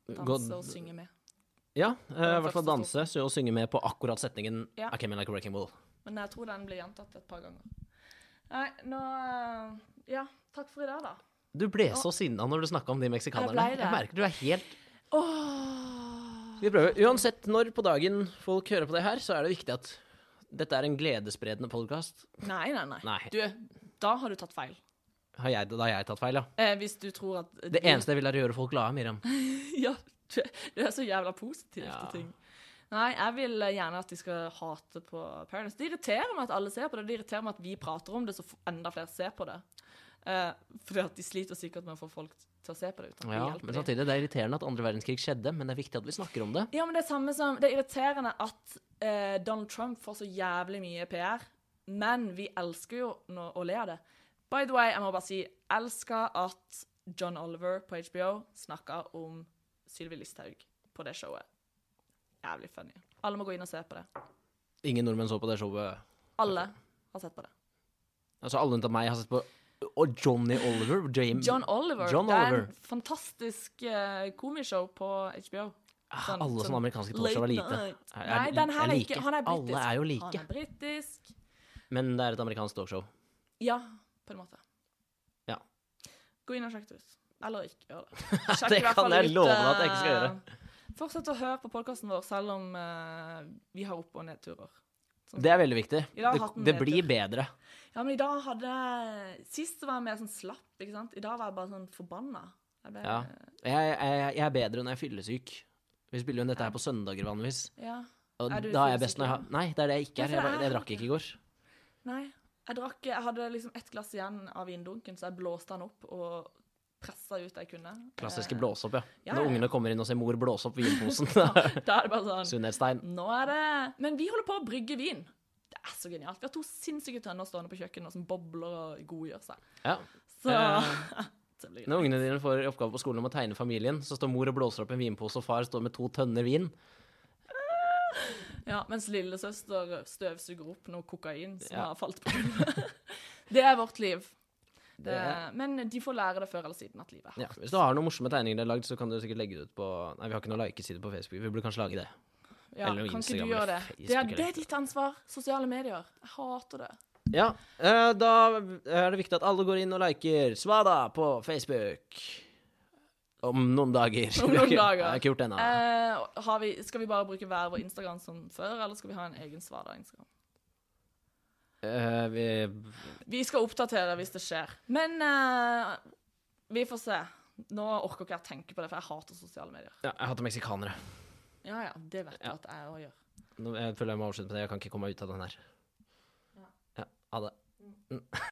B: danse
A: Gå-
B: og synge med.
A: Ja, eh, i hvert fall
B: første
A: danse så og synge med på akkurat setningen
B: Ja.
A: I came in like a wrecking ball.
B: Men jeg tror den blir gjentatt et par ganger. Nei, nå eh, Ja, takk for i dag, da.
A: Du ble så sinna når du snakka om de meksikanerne.
B: Jeg ble det.
A: Jeg merker du er helt
B: Åh.
A: Vi prøver. Uansett når på dagen folk hører på det her, så er det viktig at dette er en gledesspredende podkast.
B: Nei, nei, nei,
A: Nei.
B: Du, da har du tatt feil.
A: Har jeg, da har jeg tatt feil, ja.
B: Eh, hvis du tror at
A: Det eneste jeg vil, er å gjøre folk glade, Miriam.
B: *laughs* Ja, du, du er så jævla positiv
A: Ja.
B: til ting. Nei, jeg vil eh, gjerne at de skal hate på Paradise. Det irriterer meg at alle ser på det. Det irriterer meg at vi prater om det, så f- enda flere ser på det. Eh, fordi at de sliter sikkert med å få folk til å se på det. Uten at vi
A: Ja,
B: hjelper
A: men
B: dem.
A: samtidig, Det er irriterende at andre verdenskrig skjedde, men det er viktig at vi snakker om det.
B: Ja, men det er samme som Det er irriterende at eh, Donald Trump får så jævlig mye PR, men vi elsker jo nå å le av det. By the way, jeg må bare si elsker at John Oliver på HBO snakka om Sylvi Listhaug på det showet. Jævlig funny. Alle må gå inn og se på det.
A: Ingen nordmenn så på det showet.
B: Alle har sett på det.
A: Altså, Alle unntatt meg har sett på Og Johnny Oliver. James.
B: John Oliver.
A: John
B: Det
A: Oliver.
B: er en fantastisk eh, komishow på HBO.
A: Ah,
B: sånn-
A: alle
B: sånn
A: sånne amerikanske talkshow er
B: late
A: lite.
B: night.
A: Er- er-
B: Nei, den her
A: er
B: er
A: like.
B: ikke Han er britisk.
A: Alle er jo
B: Han
A: like,
B: er britisk.
A: men det er et amerikansk talkshow.
B: Ja, på en måte.
A: Ja.
B: Gå inn og sjekk det ut. Eller ikke gjør
A: *laughs*
B: det. Sjekk
A: Det
B: i hvert
A: kan
B: fall
A: jeg
B: ut,
A: love deg at jeg ikke skal
B: eh,
A: gjøre.
B: Fortsett å høre på podkasten vår selv om eh, vi har opp- og nedturer.
A: Det er veldig viktig.
B: I dag har
A: Det,
B: hatt en
A: det
B: bedre.
A: blir bedre.
B: Ja, men i dag hadde jeg- Sist var jeg mer sånn slapp, ikke sant? I dag var jeg bare sånn forbanna. Jeg ble,
A: Ja. Jeg, jeg, jeg er bedre når jeg er fyllesyk. Vi spiller jo dette her på søndager vanligvis.
B: ja.
A: Og
B: Er du
A: da er jeg
B: fyllesyk
A: best når jeg har
B: igjen?
A: Nei, det er det jeg ikke
B: Ja,
A: er.
B: for
A: Jeg,
B: det
A: bare,
B: er
A: jeg
B: det
A: drakk
B: ikke.
A: ikke i går.
B: Nei. Jeg drakk Jeg hadde liksom ett glass igjen av vindunken, så jeg blåste den opp og pressa ut det jeg kunne.
A: Klassiske
B: *laughs* Eh,
A: blåsopp, ja.
B: ja, ja,
A: Når
B: ja.
A: ungene kommer inn og ser mor blåse opp
B: *laughs*
A: vinposen.
B: Da er det bare sånn
A: *laughs* Sunnhetstegn.
B: Nå er det Men vi holder på å brygge vin. Det er så genialt. Vi har to sinnssyke tønner stående på kjøkkenet som bobler og godgjør seg.
A: Ja.
B: Så
A: Eh.
B: *laughs* det blir gøy.
A: Når ungene dine får i oppgave på skolen om å tegne familien, så står mor og blåser opp en vinpose, og far står med to tønner vin.
B: Ja, mens lillesøster støvsuger opp noe kokain som
A: Ja.
B: har falt på gulvet. *laughs* det er vårt liv. Det,
A: Det-
B: men de får lære det før eller siden at livet er
A: Ja. Hvis du har noen morsomme tegninger du har lagd, så kan du sikkert legge det ut på Nei, vi har ikke noen likeside på Facebook, vi burde kanskje lage det.
B: Ja,
A: Eller noe
B: kan ikke
A: Instagram
B: du gjøre
A: eller
B: det? Det
A: Facebook
B: er,
A: eller
B: det er ditt ansvar. Sosiale medier. Jeg hater det.
A: Ja, eh, da er det viktig at alle går inn og liker Svada på Facebook. Om noen dager.
B: Om noen
A: *laughs*
B: dager.
A: Jeg har ikke gjort det ennå.
B: Eh, har vi, skal vi bare bruke hver vår Instagram som før, eller skal vi ha en egen Svada-Instagram?
A: Eh, vi,
B: Vi skal oppdatere hvis det skjer. Men eh, vi får se. Nå orker ikke jeg tenke på det, for jeg hater sosiale medier.
A: ja, jeg hater meksikanere.
B: Ja, ja, det vet jeg at jeg òg gjør.
A: Nå, jeg føler jeg må avslutte med det. Jeg kan ikke komme meg ut av den her. Ja, ha det.